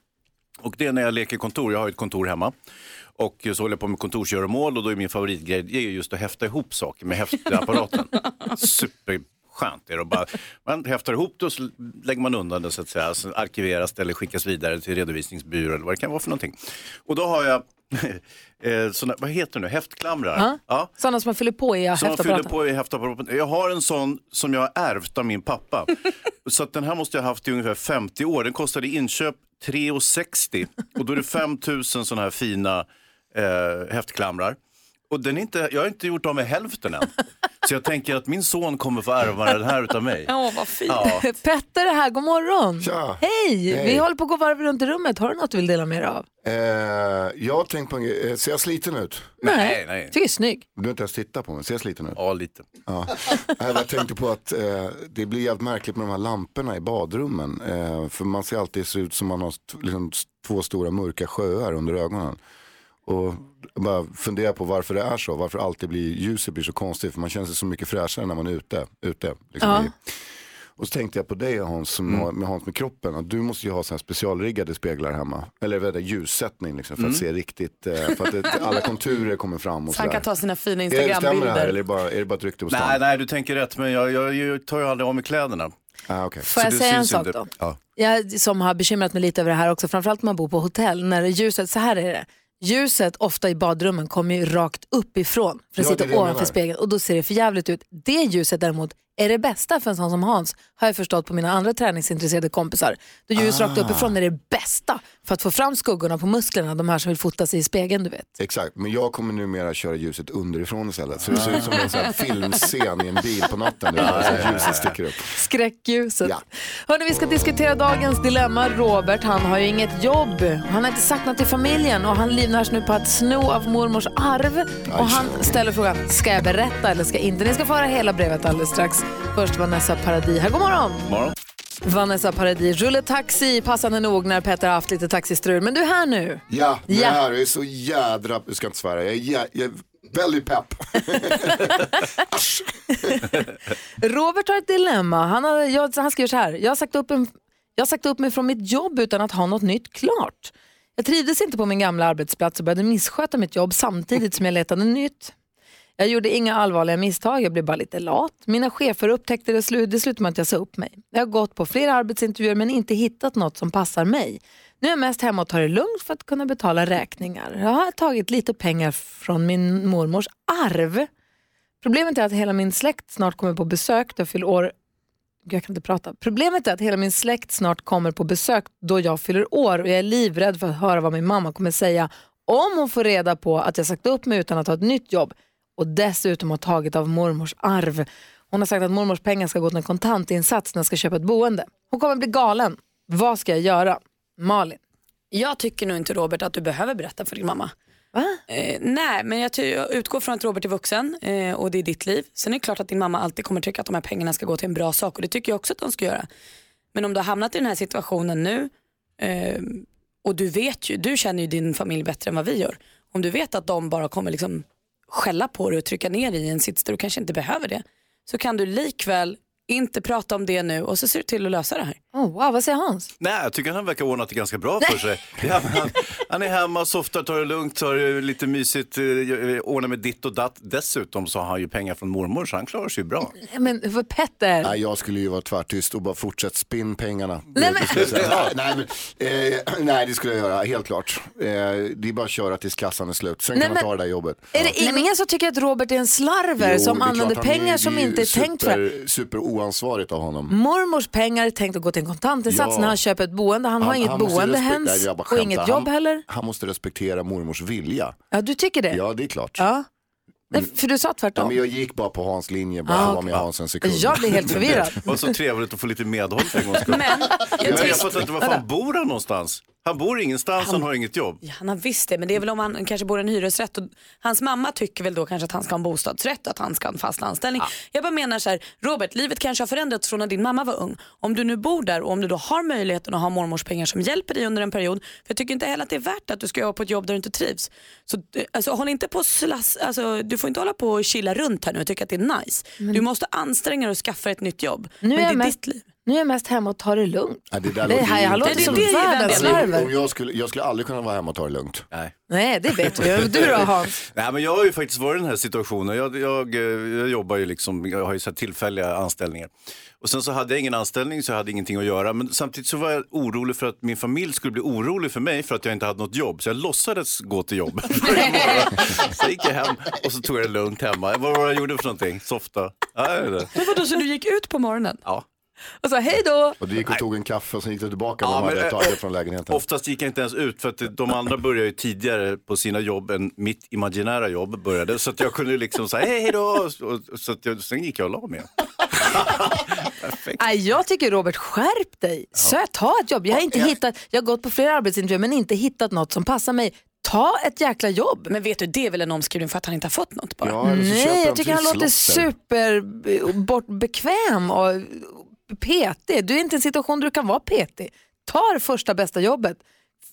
S2: Och det är när jag leker kontor. Jag har ju ett kontor hemma. Och så håller jag på med kontorsgöromål och då är min favoritgrej det är ju just att häfta ihop saker med häftapparaten. Superskönt är det. att Bara, man häftar ihop det och så lägger man undan det så att säga. Så arkiveras det eller skickas vidare till redovisningsbyrå eller vad det kan vara för någonting. Och då har jag eh, såna, vad heter det nu, häftklamrar.
S1: Ja.
S2: Ja.
S1: Sådana som man fyller på i
S2: Som man fyller
S1: häftapparaten.
S2: på i häftapparaten. Jag har en sån som jag har ärvt av min pappa. så att den här måste jag ha haft i ungefär 50 år. Den kostade i inköp 3,60 och då är det 5 000 sådana här fina eh, häftklamrar. Och den är inte, jag har inte gjort av med hälften än. Så jag tänker att min son kommer få ärva den här utav mig.
S4: Ja, vad fint.
S2: Ja.
S1: Petter är här, god morgon.
S18: Tja.
S1: Hej!
S18: Hej.
S1: Vi håller på att gå varv runt i rummet. Har du något du vill dela med dig av?
S18: Eh, jag har tänkt på en grej. Eh, Ser jag sliten ut?
S1: Nej, nej. Tycker jag är snygg.
S18: Du har inte ens tittat på mig. Ser jag sliten ut?
S2: Ja, lite.
S18: Ja. Nej, Jag tänkte på att eh, det blir jävligt märkligt med de här lamporna i badrummen. Eh, för man ser alltid så ut som man har st- liksom, s- två stora mörka sjöar under ögonen. Och jag bara fundera på varför det är så. Varför alltid blir, ljuset blir så konstigt. För man känner sig så mycket fräschare när man är ute. ute liksom,
S19: Ja.
S18: i, och så tänkte jag på dig Hans, som har, med Hans med kroppen. Att du måste ju ha så här specialriggade speglar hemma. Eller vad är det, ljussättning liksom, för
S4: Mm.
S18: att se riktigt. Eh, för att det, alla konturer kommer fram och
S4: Så han
S18: där.
S4: kan ta sina fina
S18: Är det stämmer det här eller är
S4: Instagrambilder.
S18: det bara, är det bara ett rykte på stan?
S2: Nej, nej, du tänker rätt, men jag, jag, jag tar ju aldrig av mig kläderna.
S18: Ah, okay.
S1: Får jag säga en sak då? Jag som har bekymrat mig lite över det här också, framförallt när man bor på hotell, när det är ljuset, så här är det. Ljuset ofta i badrummen kommer ju rakt uppifrån för att
S18: Ja, det är det
S1: sitta
S18: jag
S1: ovanför
S18: menar.
S1: spegeln och då ser det för jävligt ut. Det ljuset däremot är det bästa för en sån som Hans, har jag förstått på mina andra träningsintresserade kompisar. Då ljus
S18: Ah.
S1: rakt uppifrån är det bästa för att få fram skuggorna på musklerna, de här som vill fota sig i spegeln du vet.
S18: Exakt, men jag kommer numera köra ljuset underifrån istället. Så det ser ut som en sån här filmscen i en bil på natten. Du vet, så att ljuset sticker upp.
S1: Skräckljuset. Hörni, vi ska diskutera dagens dilemma. Robert, han har ju inget jobb. Han har inte sagt något till familjen och han livnärs nu på att sno av mormors arv. Och han ställer frågan, ska jag berätta eller ska jag inte? Ni ska få höra hela brevet alldeles strax. Först Vanessa Paradis här, god morgon.
S2: Morgon.
S1: Vanessa Paradis rullar taxi, passande nog när Peter har haft lite taxistrul. Men du är här nu.
S18: Ja, det
S1: Ja.
S18: här är så jädra, jag ska inte svära, jag är, jä- jag är väldigt pepp.
S1: Robert har ett dilemma. Han, har, jag, han skriver så här. Jag har, sagt upp en, jag har sagt upp mig från mitt jobb utan att ha något nytt klart. Jag trivdes inte på min gamla arbetsplats och började missköta mitt jobb samtidigt som jag letade nytt. Jag gjorde inga allvarliga misstag, jag blev bara lite lat. Mina chefer upptäckte det slut, det slutade med att jag sa upp mig. Jag har gått på flera arbetsintervjuer men inte hittat något som passar mig. Nu är jag mest hemma och tar det lugnt för att kunna betala räkningar. Jag har tagit lite pengar från min mormors arv. Problemet är att hela min släkt snart kommer på besök då jag fyller år. Gud, Jag kan inte prata. Problemet är att hela min släkt snart kommer på besök då jag fyller år och jag är livrädd för att höra vad min mamma kommer säga om hon får reda på att jag sagt upp mig utan att ha ett nytt jobb och dessutom har tagit av mormors arv. Hon har sagt att mormors pengar ska gå till en kontantinsats när jag ska köpa ett boende. Hon kommer bli galen. Vad ska jag göra? Malin.
S4: Jag tycker nog inte Robert att du behöver berätta för din mamma. Eh, nej, men jag, ty- jag utgår från att Robert är vuxen eh, och det är ditt liv. Sen är det klart att din mamma alltid kommer tycka att de här pengarna ska gå till en bra sak och det tycker jag också att de ska göra. Men om du har hamnat i den här situationen nu eh, Och du vet ju, du känner ju din familj bättre än vad vi gör. Om du vet att de bara kommer liksom skälla på dig och trycka ner dig i en sits där du kanske inte behöver det. Så kan du likväl inte prata om det nu och så ser du till att lösa det här.
S1: Oh, wow, vad säger Hans?
S2: Nej, jag tycker han verkar ha ordnat det ganska bra för sig. Det är- Han, han är hemma, softar, tar det lugnt, tar det lite mysigt, eh, ordnar med ditt och datt. Dessutom så har han ju pengar från mormor så han klarar sig ju bra.
S1: Nej, Men för Petter.
S18: Nej, jag skulle ju vara tvärtyst och bara fortsätt spinn pengarna.
S1: Nej,
S18: Det skulle jag säga. nej, men, eh, nej, det skulle jag göra, helt klart. Eh, det är bara att köra tills kassan är slut, sen
S1: Nej,
S18: kan
S1: men-
S18: man ta det där jobbet.
S1: Är det ingen som tycker att Robert är en slarver
S18: Jo,
S1: som
S18: det är
S1: använder
S18: klart, han är-
S1: pengar som
S18: det är ju
S1: inte är tänkt för det?
S18: super, super oansvarigt av honom.
S1: Mormors pengar är tänkt att gå till en kontantinsats
S18: Ja.
S1: när han köper ett boende. Han, har inget
S18: måste
S1: boende
S18: respek- Nej,
S1: hens
S18: jag bara
S1: och
S18: skämtar.
S1: inget jobb
S18: han,
S1: heller.
S18: Han måste respektera mormors vilja.
S1: Ja, du tycker det?
S18: Ja, det är klart. Mm.
S1: Ja. Nej, för du sa tvärtom.
S18: Ja, men jag gick bara på Hans linje, bara
S1: Ah,
S18: ah, var
S1: okej.
S18: med Hans en sekund.
S1: Jag blir helt förvirrad.
S2: Det var så trevligt att få lite medhåll för en gångs skull.
S4: Men,
S2: Men
S4: tänkte-
S2: jag fattar inte, var fan bor han någonstans? Han bor ingenstans, han, har inget jobb.
S4: Ja, han har visst det, men det är väl om han kanske bor i en hyresrätt och hans mamma tycker väl då kanske att han ska ha en bostadsrätt och att han ska ha en fast anställning. Jag bara menar så här, Robert, livet kanske har förändrats från när din mamma var ung. Om du nu bor där och om du då har möjligheten att ha mormors pengar som hjälper dig under en period, för jag tycker inte heller att det är värt att du ska jobba på ett jobb där du inte trivs. Så du- alltså, håll inte på och slass, alltså, du får inte hålla på och chilla runt här nu och tycka att det är nice.
S1: Men-
S4: Du måste anstränga dig och skaffa ett nytt jobb.
S1: Nu
S4: men
S1: är,
S4: det är
S1: jag
S4: ditt
S1: mest, nu är jag mest hemma och tar det lugnt.
S18: Ja, det där
S1: Det
S18: låter
S1: här-
S18: ju
S1: han
S18: inte
S1: låter som
S18: rimligt.
S1: världens
S18: Alltså, om-
S1: larver.
S18: om jag, skulle, jag skulle aldrig kunna vara hemma och ta det lugnt.
S2: Nej.
S1: Nej, det vet vi ju. Du då Hans?
S2: Nej, men jag har ju faktiskt varit i den här situationen. Jag, jag, eh, jag jobbar ju liksom, jag har ju så här tillfälliga anställningar. Och sen så hade jag ingen anställning så jag hade ingenting att göra. Men samtidigt så var jag orolig för att min familj skulle bli orolig för mig för att jag inte hade något jobb. Så jag låtsades gå till jobbet. varje morgon. så gick jag hem och så tog jag det lugnt hemma. Vad var det jag gjorde för någonting? Softa? Ja, jag vet inte.
S4: Men vadå, så du gick ut på morgonen?
S2: Ja.
S1: Och sa alltså, hej då!
S18: Och du gick och tog en kaffe och sen gick du tillbaka
S2: Ja,
S18: med de
S2: men,
S18: hade
S2: eh,
S18: tagit från lägenheten.
S2: Oftast gick jag inte ens ut för att de andra började ju tidigare på sina jobb än mitt imaginära jobb började. Så att jag kunde liksom säga hej hej då. Och, så att jag, sen gick jag och la mig.
S1: Nej, jag tycker Robert, skärp dig. Sö, ta ett jobb. Jag har, inte hittat, jag har gått på flera arbetsintervjuer men inte hittat något som passar mig. Ta ett jäkla jobb.
S4: Men vet du, det är väl en omskrivning för att han inte har fått något bara?
S18: Ja, eller så köper
S1: Nej,
S18: de
S1: jag tycker han låter
S18: trisslotter.
S1: super b- bort, bekväm och petig. Du är inte i en situation där du kan vara petig. Ta det första bästa jobbet,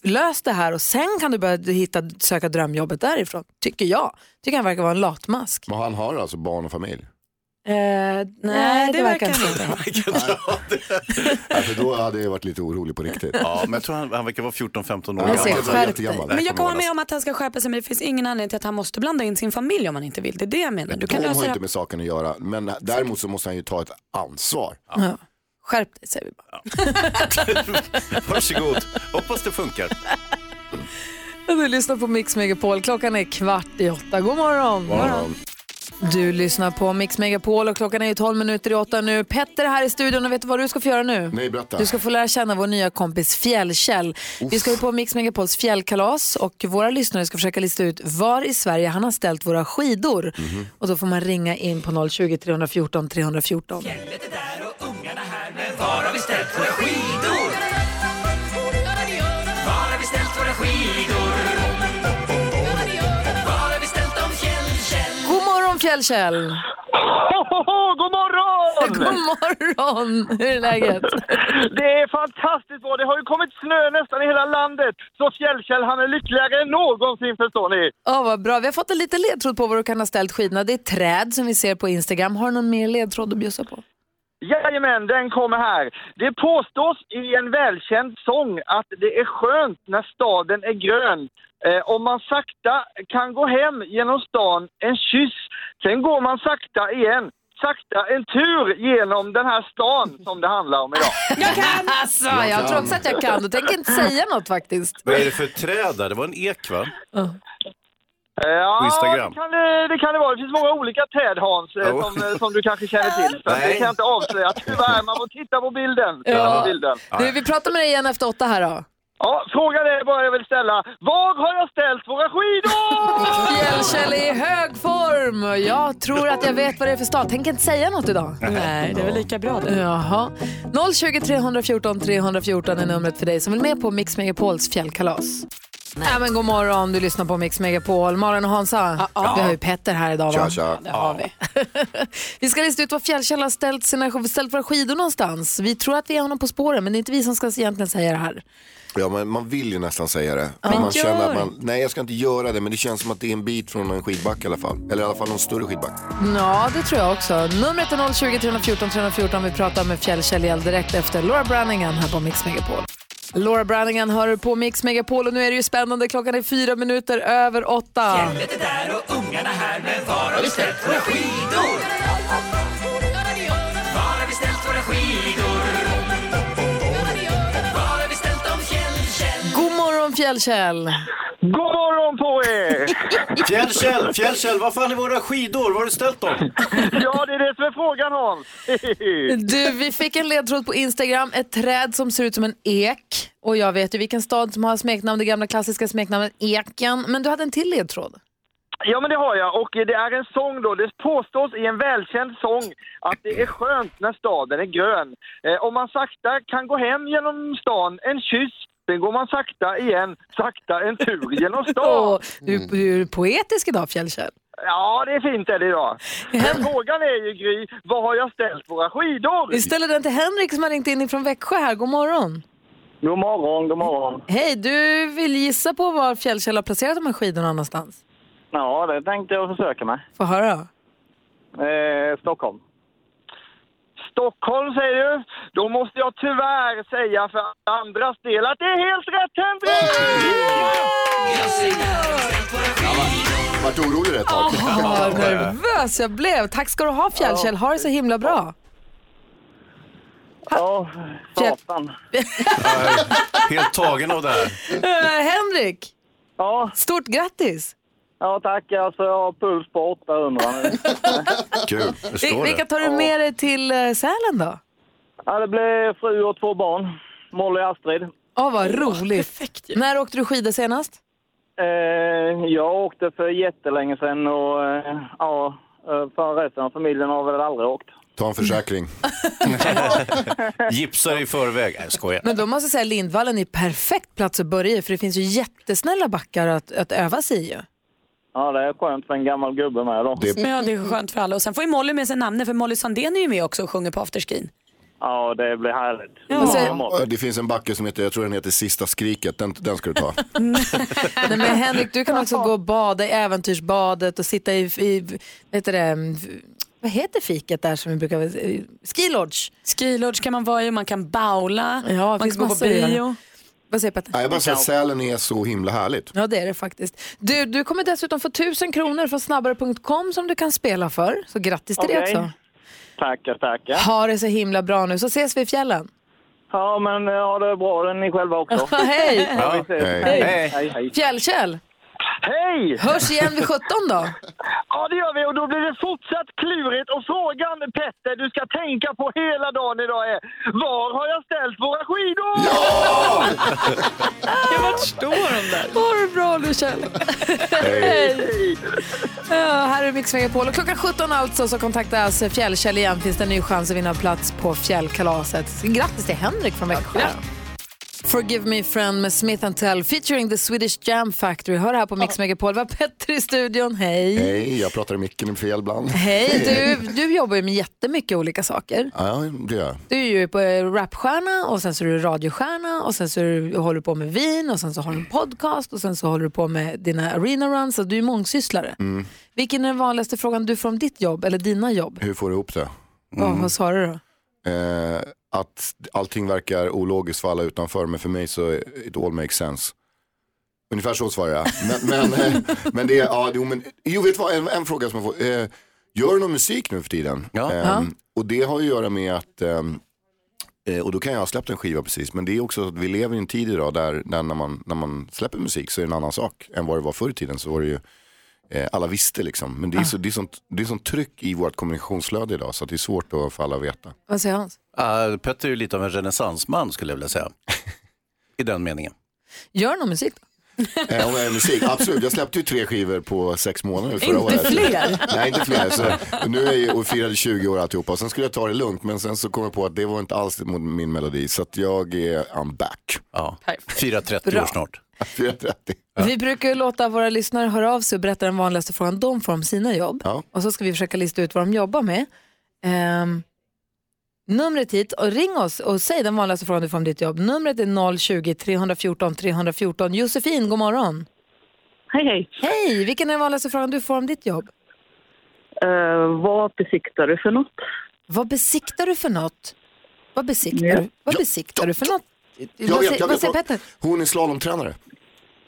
S1: lös det här och sen kan du börja hitta, söka drömjobbet därifrån, tycker jag. Tycker han verkar vara en latmask.
S18: Men han har alltså barn och familj?
S1: nej,
S4: Eh, Nej, det,
S1: det
S4: verkar
S1: verkar
S4: han inte.
S18: Ja, för Alltså, då hade jag varit lite orolig på riktigt.
S2: Ja, men jag tror han, han verkar vara 14-15 år
S18: Jag ser,
S2: gammal.
S18: skärp dig. Jättegammal.
S4: Men jag kan hålla med om att han ska skärpa sig men det finns ingen anledning till att han måste blanda in sin familj om han inte vill. Det är det jag menar. Du kan alltså
S18: de har
S4: lösa
S18: ju
S4: det. här-
S18: inte med saken att göra, men däremot så måste han ju ta ett ansvar.
S1: Ja. Skärp dig säger vi bara.
S2: Varsågod, hoppas det funkar.
S1: Du lyssnar på Mix Megapol. Klockan är kvart i åtta. God morgon.
S2: God morgon.
S1: Du lyssnar på Mix Megapol och klockan är ju 12 minuter i åtta nu. Petter är här i studion och vet du vad du ska få göra nu?
S18: Nej, berätta.
S1: Du ska få lära känna vår nya kompis Fjällkäll. Vi ska ju på Mix Megapols fjällkalas och våra lyssnare ska försöka lista ut var i Sverige han har ställt våra skidor. Och då får man ringa in på 020 314 314.
S20: Men var har vi ställt våra skidor? Var har vi ställt våra skidor? Var har vi ställt dem fjällkäll?
S1: God morgon Fjällkäll!
S19: god morgon!
S1: God morgon! Hur är läget?
S19: Det är fantastiskt bra. Det har ju kommit snö nästan i hela landet. Så Fjällkäll, han är lyckligare än någonsin förstår ni.
S1: Ja, vad bra. Vi har fått en liten ledtråd på var du kan ha ställt skidorna. Det är träd som vi ser på Instagram. Har du någon mer ledtråd att bjussa på?
S19: Jajamän, den kommer här. Det påstås i en välkänd sång att det är skönt när staden är grön. Eh, om man sakta kan gå hem genom stan en kyss, sen går man sakta igen. Sakta en tur genom den här stan som det handlar om idag.
S1: Jag kan! Alltså, jag,
S19: Jag
S1: tror
S19: kan.
S1: också att jag kan. Då tänker jag inte säga något faktiskt.
S2: Vad är det för träd där? Det var en ek va?
S19: Eh, Ja,
S2: På Instagram.
S19: Det, kan, det- det kan det vara. Det finns många olika träd, Hans, eh,
S2: Jo.
S19: som, eh, som du kanske känner till. Så att det
S2: Nej.
S19: kan jag inte avslöja. Tyvärr, man får titta på bilden. Ja. På bilden.
S1: Du, vi pratar med dig igen efter åtta här då.
S19: Ja, frågan är bara jag vill ställa. Var har jag ställt våra skidor?
S1: Fjällkäll är i hög form. Jag tror att jag vet vad det är för stad. Tänker inte säga något idag.
S4: Nej, det är väl lika bra det.
S1: Jaha. 020 314 314 är numret för dig som vill med på Mix Megapols fjällkalas. Ja, men god morgon, du lyssnar på Mix Megapol. Maren och Hansa, vi har ju Petter här idag. Va?
S8: Tja, tja.
S1: Det har vi. vi ska lista ut var Fjällkäll har ställt, sina, ställt våra skidor någonstans. Vi tror att vi är honom på spåren, men det är inte vi som ska egentligen säga det här.
S18: Ja, men man vill ju nästan säga det.
S1: Men
S18: man
S1: gör
S18: känner att man, nej, jag ska inte göra det, men det känns som att det är en bit från en skidbacke i alla fall. Eller i alla fall någon större skidbacke.
S1: Ja, det tror jag också. Numret är 020 314 314. Vi pratar med Fjällkäll Hjell direkt efter Laura Branningan här på Mix Megapol. Laura Branningan hör på Mix Megapol och nu är det ju spännande. Klockan är fyra minuter över åtta.
S20: är där och ungarna här, men var har vi ställt våra skidor? Var har vi ställt våra skidor? Var har vi ställt dem, Fjäll, Fjäll?
S1: God morgon Fjällkäll!
S19: God morgon på er!
S2: Fjällkäll, Fjällkäll, var fan är våra skidor? Var har du ställt dem?
S19: Ja, det är det som är frågan Hans.
S1: Du, vi fick en ledtråd på Instagram, ett träd som ser ut som en ek. Och jag vet ju vilken stad som har smeknamn, det gamla klassiska smeknamnet Eken. Men du hade en till ledtråd.
S19: Ja, men det har jag. Och det är en sång då. Det påstås i en välkänd sång att det är skönt när staden är grön. Eh, om man sakta kan gå hem genom stan, en kyss, sen går man sakta igen, sakta en tur genom
S1: Åh,
S19: stan.
S1: du, du är poetisk idag Fjällkäll.
S19: Ja, det är fint är det idag. Men frågan är ju Gry, var har jag ställt våra skidor?
S1: Vi ställer den till Henrik som har ringt in från Växjö här. God morgon!
S21: God morgon, god morgon.
S1: Hej, du vill gissa på var Fjällkäll har placerat de här skidorna någonstans?
S21: Ja, det tänkte jag försöka med.
S1: Få höra.
S19: Eh, Stockholm. Stockholm säger du? Då måste jag tyvärr säga för andras del att det är helt rätt Henrik!
S8: Vart orolig det ett tag.
S1: Åh, vad nervös jag blev. Tack ska du ha Fjällkäll, ha det så himla bra.
S21: Ja, satan.
S2: Helt tagen av det här.
S1: Eh, Henrik!
S21: Ja.
S1: Stort grattis!
S21: Ja, tack. Alltså, jag har puls på 800 nu.
S2: Kul,
S1: Vi, vilka tar du med dig till eh, Sälen då?
S21: Ja, det blev fru och två barn. Molly och Astrid.
S1: Åh, vad roligt. När åkte du skidor senast?
S21: Eh, jag åkte för jättelänge sedan och eh, ja, eh, för resten av familjen har väl aldrig åkt.
S18: Ta en försäkring.
S2: Gipsar i förväg. Nej, jag skojar.
S1: Men då måste jag säga Lindvallen är perfekt plats att börja i för det finns ju jättesnälla backar att, att öva sig i ju.
S21: Ja, det är skönt för en gammal gubbe med då.
S4: Ja, det är skönt för alla. Och sen får ju Molly med sig namnet för Molly Sandén är ju med också och sjunger på afterskin.
S21: Ja, det blir härligt.
S18: Det finns en backe som heter, jag tror den heter Sista skriket, den, den ska du ta.
S1: Nej, men Henrik, du kan också gå och bada i äventyrsbadet och sitta i, i vad, heter det, vad heter fiket där som vi brukar... eh, Ski Lodge.
S4: Ski Lodge kan man vara i, man kan baula,
S1: Ja, det
S4: man
S1: finns
S4: kan gå på
S1: massor att göra.
S4: bio.
S1: Vad Ah, säger Petter?
S18: Nej, jag bara säger att Sälen är så himla härligt.
S1: Ja, det är det faktiskt. Du, du kommer dessutom få 1000 kronor från snabbare.com som du kan spela för. Så grattis till det
S21: Okej.
S1: också.
S21: Tackar, tackar.
S1: Ha det så himla bra nu, så ses vi i fjällen.
S21: Ja, men eh, ha det bra ni själva också.
S1: Hej.
S21: Ja, vi ses.
S1: Hej.
S21: Hej! Hej! Hej!
S1: Fjällkäll!
S21: Hej!
S1: Hörs igen vid 17 då.
S21: Ja, det gör vi. Och då blir det fortsatt klurigt. Och frågan, Petter, du ska tänka på hela dagen idag är var har jag ställt våra skidor? Ja!
S1: Vart står de där? Ha det bra nu Kjell. Hej. Ja, här är Mix Megapol. Och klockan 17 alltså så kontaktas Fjällkäll igen. Finns det en ny chans att vinna plats på Fjällkalaset. Så Grattis till Henrik från Växjö. Forgive Me Friend med Smith Tell featuring the Swedish Jam Factory. Hör det här på Mix Megapol. Vi har Petter i studion. Hej.
S18: Nej, jag pratar i micken fel ibland.
S1: Hej, du, du jobbar ju med jättemycket olika saker.
S18: Ja, det gör jag.
S1: Du är ju på eh, rapstjärna och sen så är du radiostjärna och sen så är du, håller du på med vin och sen så har du en podcast och sen så håller du på med dina arena runs. Så du är mångsysslare.
S18: Mm.
S1: Vilken är den vanligaste frågan du får om ditt jobb eller dina jobb?
S18: Hur får du ihop det?
S1: Vad- Vad svarar du då?
S18: Eh, att allting verkar ologiskt för alla utanför, men för mig så it all makes sense. Ungefär så svarar jag. Men, men, eh, men det är, ja, jo, men, jo vet du vad, en, en fråga som jag får. Eh, gör du någon musik nu för tiden? Ehm,
S22: Ja.
S18: Och det har ju att göra med att, ehm, eh, och då kan jag ha släppt en skiva precis, men det är också att vi lever i en tid idag där, där när, man, när man släpper musik så är det en annan sak än vad det var förr i tiden. Så var det ju, eh, alla visste liksom, men det är, så, det, är sånt, det är sånt tryck i vårt kommunikationsflöde idag så att det är svårt att få alla att veta.
S1: Vad säger Hans?
S2: Uh, Petter är ju lite av en renässansman skulle jag vilja säga. I den meningen.
S1: Gör du någon musik då?
S18: Eh, om jag gör musik, absolut. Jag släppte ju tre skivor på sex månader förra
S1: Inte
S18: året.
S1: fler.
S18: Nej, inte fler. Så nu är jag ju och firade 20 år alltihopa. Och Sen skulle jag ta det lugnt, men sen så kom jag på att det var inte alls mot min melodi. Så att jag är, I'm back.
S2: Ja. Fira 30
S1: Bra.
S2: år snart.
S8: 4.30.
S1: Vi brukar ju låta våra lyssnare höra av sig och berätta den vanligaste frågan de får om sina jobb.
S8: Ja.
S1: Och så ska vi försöka lista ut vad de jobbar med. Ehm, numret hit, och ring oss och säg den vanligaste frågan du får om ditt jobb. Numret är 020-314 314. Josefin, god morgon.
S7: Hej, hej.
S1: Hej, vilken är den vanligaste frågan du får om ditt jobb?
S7: Eh, vad besiktar du för något?
S1: Vad besiktar du för något? Vad besiktar
S7: Ja.
S1: du? Vad besiktar du för något?
S18: Jag
S1: vad,
S18: vet,
S1: säger-
S18: jag
S1: vad
S18: vet.
S1: säger Petter?
S18: Hon är slalomtränare.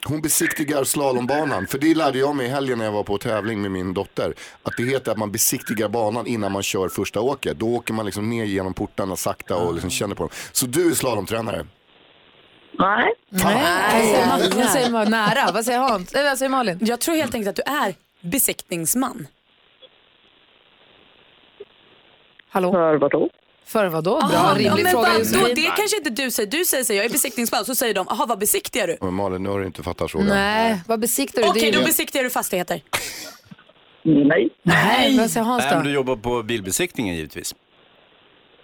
S18: Hon besiktigar slalombanan. För det lärde jag mig i helgen när jag var på tävling med min dotter. Att det heter att man besiktigar banan innan man kör första åket. Då åker man liksom ner genom portarna sakta
S1: Ah.
S18: och liksom känner på dem. Så du är slalomtränare.
S7: Nej.
S1: Nej. Vad säger man? Nära. Vad säger Hans? Eller vad säger Malin?
S4: Jag tror helt enkelt att du är besiktningsman.
S1: Hallå?
S7: För vadå?
S1: För vadå? Bra,
S4: Aha, ja,
S1: rimlig
S4: men
S1: fråga
S4: vadå?
S1: Josefin.
S4: Det kanske inte du säger. Du säger så här, jag är besiktningsman. Så säger de, jaha vad besiktigar du?
S18: Men Malin, nu har du inte fattat frågan.
S1: Nej, vad besiktar du?
S4: Okej,
S1: Det är ju-
S4: då besiktigar du fastigheter.
S7: Nej.
S1: Nej, vad säger Hans
S2: Nej, men du jobbar på bilbesiktningen givetvis.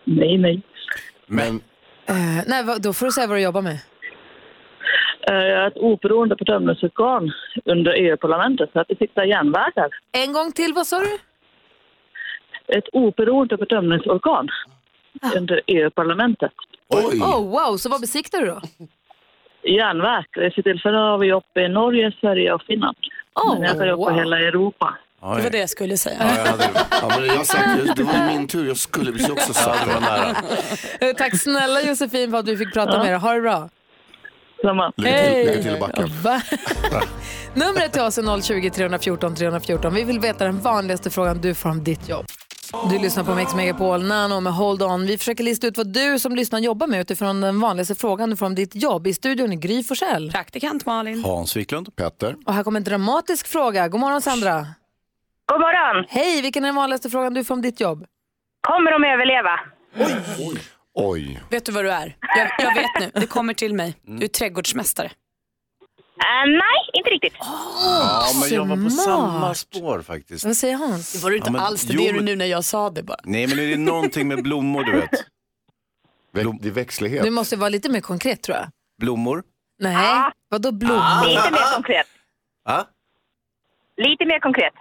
S7: Nej, nej.
S2: Men
S1: Eh, nej, vad- då får du säga vad du jobbar med.
S7: Eh, jag är ett oberoende bedömningsorgan under EU-parlamentet för att besikta järnvägar.
S1: En gång till, vad sa du?
S7: Ett oberoende bedömningsorgan
S1: Ah.
S7: under E EU-parlamentet.
S1: Oh, wow, så vad besiktar du då?
S7: Järnväg. Det är För tillfället har vi uppe i Norge, Sverige och Finland.
S1: Oh,
S7: Men jag tar upp
S1: wow.
S7: på hela Europa.
S4: Det var det jag skulle säga.
S18: Ja, men jag sagt, det var min tur, jag skulle precis också sagt
S2: det var nära.
S1: Eh, Tack snälla Josefin för att du fick prata med dig. Ha det bra.
S7: Samma.
S1: Lycka till- Hej. lycka till
S18: i backen.
S1: Numret till oss är 020 314 314. Vi vill veta den vanligaste frågan du får om ditt jobb. Du lyssnar på Mix Megapol, Nano med Hold On. Vi försöker lista ut vad du som lyssnar jobbar med utifrån den vanligaste frågan du får om ditt jobb. I studion är Gry Forssell.
S4: Praktikant Malin.
S2: Hans Wiklund.
S18: Petter.
S1: Och här kommer en dramatisk fråga. God morgon Sandra.
S22: God morgon.
S1: Hej, vilken är den vanligaste frågan du får om ditt jobb?
S22: Kommer de överleva?
S18: Oj.
S4: Vet du vad du är? Jag, jag vet nu, det kommer till mig. Du är trädgårdsmästare. Ah,
S22: Eh, nej, inte riktigt.
S2: Ja, men jag var på
S4: smart.
S2: samma spår faktiskt.
S1: Vad säger Hans?
S4: Det var du inte
S2: Ja, men-
S4: alls, det
S2: jo,
S4: är du
S2: men-
S4: nu när jag sa det bara.
S2: Nej, men är det någonting med blommor, du vet?
S18: Blom... Det är växtlighet.
S1: Du måste vara lite mer konkret tror jag.
S2: Blommor?
S1: Nej, vadå blommor?
S2: Ah. Lite mer
S22: konkret.
S2: Va?
S22: Lite mer konkret.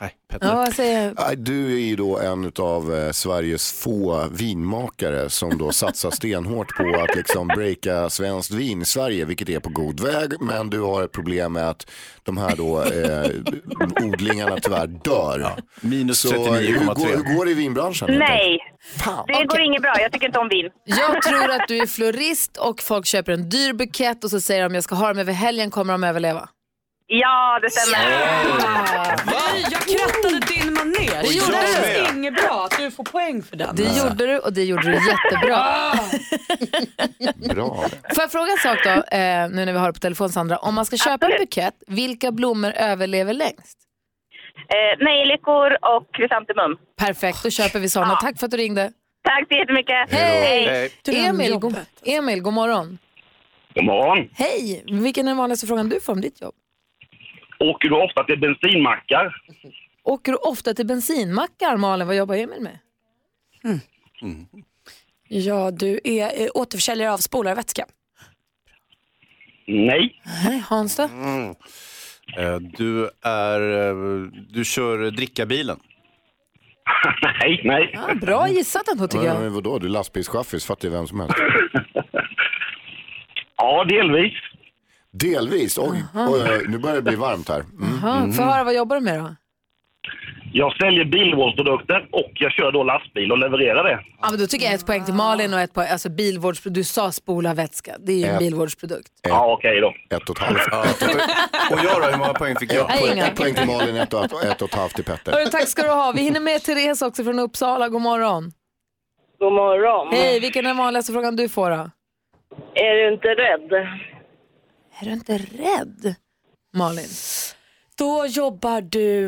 S2: Nej,
S1: Ja, vad säger
S18: Nej, Du är ju då en av Sveriges få vinmakare som då satsar stenhårt på att liksom breaka svenskt vin i Sverige, vilket är på god väg. Men du har ett problem med att de här då, eh, odlingarna tyvärr dör.
S2: minus
S18: Så eh, hur går,
S2: 39,3.
S18: hur går det i vinbranschen? helt enkelt?
S22: Nej, det går inget bra. Jag tycker inte om vin.
S1: Jag tror att du är florist och folk köper en dyr bukett och så säger de om jag ska ha dem över helgen kommer de överleva.
S22: Ja, det stämmer.
S4: Gry, jag krattade din manér.
S1: Det gjorde du.
S4: känns inget bra att du får poäng för den.
S1: Det gjorde du och det gjorde du
S22: Ah.
S1: jättebra.
S18: Bra.
S1: Får jag fråga en sak då, eh, nu när vi har det på telefon Sandra. Om man ska köpa en bukett, vilka blommor överlever längst?
S22: Eh, nejlikor och krysantemum.
S1: Perfekt, då köper vi sådana. Tack för att du ringde.
S22: Ah. Tack så jättemycket.
S1: Emil, god, Emil, god morgon.
S17: God morgon.
S1: Hej, vilken är den vanligaste frågan du får om ditt jobb?
S17: Åker du ofta till bensinmackar?
S1: Åker du ofta till bensinmackar, Malin? Vad jobbar Emil med?
S2: Mm,
S4: Ja, du är eh, återförsäljare av spolarvätska.
S17: Nej.
S1: Nej, Hans då?
S2: Mm. Eh, Du är... eh, Du kör eh, drickabilen.
S17: nej, nej.
S1: Ja, Ah, bra gissat ändå tycker
S18: Men,
S1: jag.
S18: men vadå, du är lastbilschaffis, fattar ju vem som helst.
S17: ja, delvis.
S18: Delvis? Oj, oj, oj, nu börjar det bli varmt här. Mm.
S1: Jaha, Får jag höra, vad jobbar du med då?
S17: Jag säljer bilvårdsprodukter och jag kör då lastbil och levererar det.
S1: Ja, men då tycker jag ett poäng till Malin och ett poäng, alltså bilvårdsprodukt. Du sa spola vätska, det är ju en
S17: Ett.
S1: bilvårdsprodukt.
S17: Ja, okej
S18: då. Ett och ett halvt.
S2: Och jag då, hur många poäng fick jag?
S1: Nej,
S18: Poäng-
S1: inga.
S18: Ett poäng till Malin, ett och ett, ett och ett halvt till Petter.
S1: Hörru, tack ska du ha. Vi hinner med Therese också från Uppsala. God morgon.
S23: God morgon.
S1: Hej, vilken är den vanligaste frågan du får då?
S23: Är du inte rädd?
S1: Är du inte rädd? Malin.
S4: Då jobbar du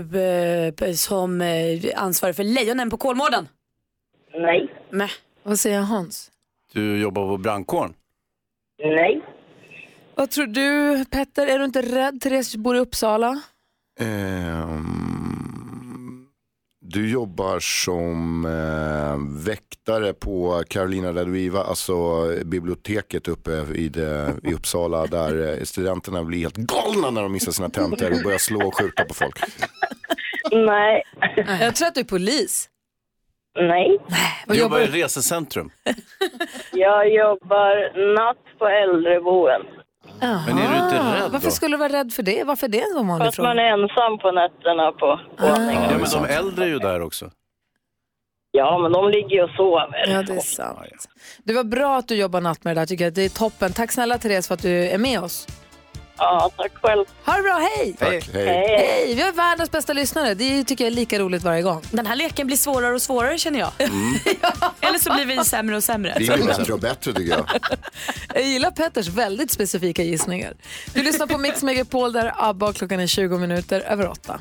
S4: eh, som eh, ansvarig för lejonen på Kolmården.
S23: Nej.
S4: Nej.
S1: Vad säger Hans?
S2: Du jobbar på brandkåren.
S23: Nej.
S1: Vad tror du Petter? Är du inte rädd? Therese bor i Uppsala.
S18: Ehm, Du jobbar som eh, väktare på Carolina Raduiva, alltså biblioteket uppe i, det, i Uppsala där eh, studenterna blir helt galna när de missar sina tentor och börjar slå och skjuta på folk.
S23: Nej.
S1: Jag tror att du är polis.
S23: Nej.
S2: Du jobbar i resecentrum.
S23: Jag jobbar natt på äldreboende.
S2: Men är du inte
S1: Ah,
S2: rädd
S1: Varför
S2: då?
S1: skulle du vara rädd för det? Varför är det en
S23: För
S1: sån vanlig
S23: att man
S1: fråga?
S23: är ensam på nätterna
S1: Ah.
S23: på våningen.
S2: Ja, men de äldre är ju där också.
S23: Ja, men de ligger ju och sover.
S1: Ja, det är sant. Det var bra att du jobbar natt med det där tycker jag. Det är toppen. Tack snälla Therese för att du är med oss.
S23: Ja, tack själv.
S1: Ha det bra, hej!
S23: Tack, hej. Hej.
S1: Hej! Vi har världens bästa lyssnare. Det tycker jag är lika roligt varje gång.
S4: Den här leken blir svårare och svårare känner jag.
S18: Mm.
S4: Eller så blir vi sämre och sämre.
S8: Det blir bättre och bättre tycker jag.
S1: Jag gillar Petters väldigt specifika gissningar. Du lyssnar på Mix Megapol där ABBA klockan är 20 minuter över 8.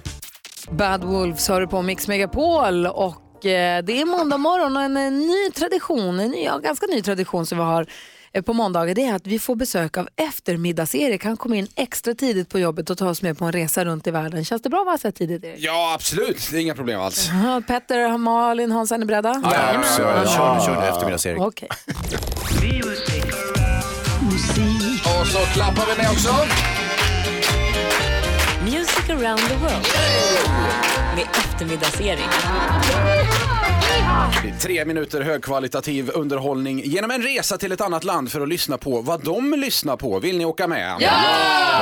S1: Bad Wolves hör du på Mix Megapol och eh, det är måndag morgon och en, eh, ny tradition, en ny, ja, ganska ny tradition som vi har eh, på måndagar det är att vi får besök av eftermiddags-Erik. Han kommer in extra tidigt på jobbet och tar oss med på en resa runt i världen. Känns det bra att vara så här tidigt Erik?
S24: Ja, absolut. Det är inga problem alls.
S1: Ja, Petter, Malin, Hans, är ni beredda?
S24: Ja,
S2: Kör, kör, kör
S24: Ja.
S2: eftermiddags-Erik.
S1: Okej.
S24: Och så klappar vi med också.
S3: Music around the world. Med eftermiddagsserien.
S24: Det är Tre minuter högkvalitativ underhållning genom en resa till ett annat land för att lyssna på vad de lyssnar på. Vill ni åka med?
S5: Ja!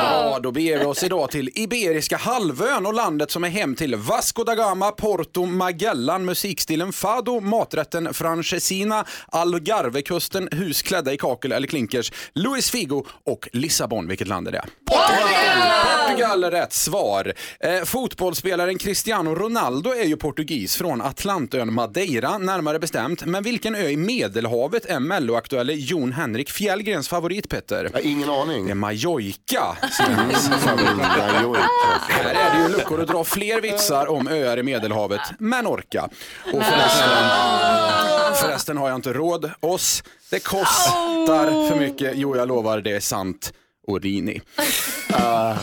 S24: Bra, då beger vi oss idag till Iberiska halvön och landet som är hem till Vasco da Gama, Porto, Magellan, musikstilen fado, maträtten francesina, Algarvekusten, hus klädda i kakel eller klinkers, Luis Figo och Lissabon. Vilket land är det? Portugal är rätt svar. Eh, fotbollsspelaren Cristiano Ronaldo är ju portugis från Atlantön Madeira närmare bestämt. Men vilken ö i Medelhavet är melloaktuelle Jon Henrik Fjällgrens favorit Petter?
S18: ingen aning.
S24: Det är Mallorca. som är hans favorit. Här är det ju luckor att dra fler vitsar om öar i Medelhavet. Menorca. Och förresten,
S20: Ah.
S24: förresten har jag inte råd. Oss, det kostar för mycket. Jo, jag lovar, det är sant. Orini. Uh,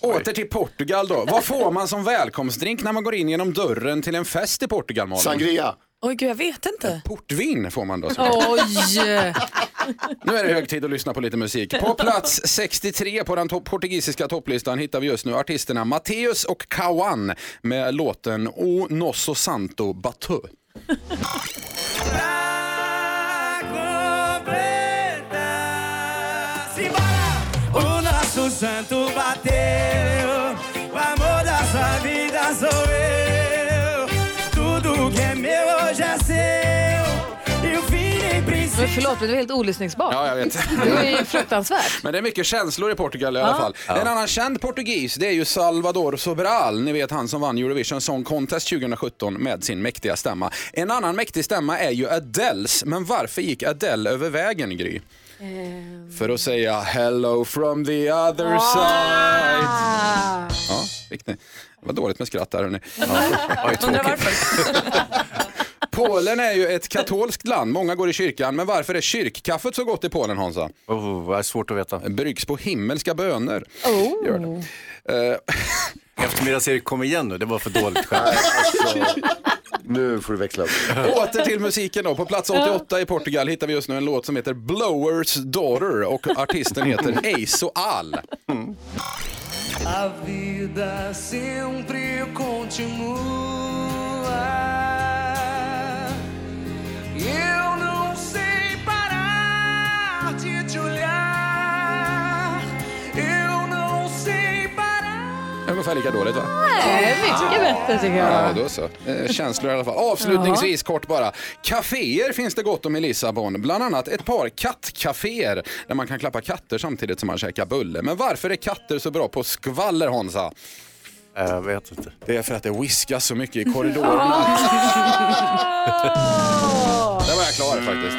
S24: åter till Portugal då. Vad får man som välkomstdrink när man går in genom dörren till en fest i Portugal, Malin?
S8: Sangria.
S4: Oj, gud jag vet inte.
S24: Portvin får man då.
S1: Oj!
S24: Nu är det hög tid att lyssna på lite musik. På plats 63 på den to- portugisiska topplistan hittar vi just nu artisterna Mateus och Kawan med låten O Nosso Santo Batu.
S5: O nosso santo bateu, o amor da sua vida sou eu. Tudo que é meu hoje é seu, e o fim nem
S1: Men
S5: precisa.
S1: förlåt, men det var helt olyssningsbart.
S24: Ja, jag vet.
S1: Det var ju fruktansvärt.
S24: Men det är mycket känslor i Portugal i
S1: Ja.
S24: alla fall.
S1: Ja.
S24: En annan känd portugis det är ju Salvador Sobral. Ni vet han som vann Eurovision Song Contest 2017 med sin mäktiga stämma. En annan mäktig stämma är ju Adeles. Men varför gick Adele över vägen, Gry?
S1: Ehm.
S24: För att säga hello from the
S1: Ah!
S24: other side. Ja, fick ni. Det var dåligt med skratt där hörni. Ja, oj, tråkigt. Polen är ju ett katolskt land, många går i kyrkan. Men varför är kyrkkaffet så gott i Polen Hansa?
S2: Oh, det är svårt att veta.
S24: Bryggs på himmelska böner. Gör det.
S18: Eh.
S2: Eftermiddags-Erik, kom igen nu. Det var för dåligt skämt.
S18: Nu får du växla upp.
S24: Åter till musiken då. På plats 88 i Portugal hittar vi just nu en låt som heter Blowers Daughter och artisten heter Ace och Al.
S5: A vida sempre continua. E eu não sei parar de te olhar. Eu não sei parar.
S24: Ungefär lika dåligt va? é
S5: Nej, mycket bättre tycker
S24: Ja, då så. Eh, Känslor i alla fall. Avslutningsvis kort bara. Caféer finns det gott om i Lissabon. Bland annat ett par kattcaféer där man kan klappa katter samtidigt som man käkar bulle. Men varför är katter så bra på skvaller Hansa?
S2: Jag vet inte.
S24: Det är för att det whiskas så mycket i korridorerna. Där var jag klar faktiskt.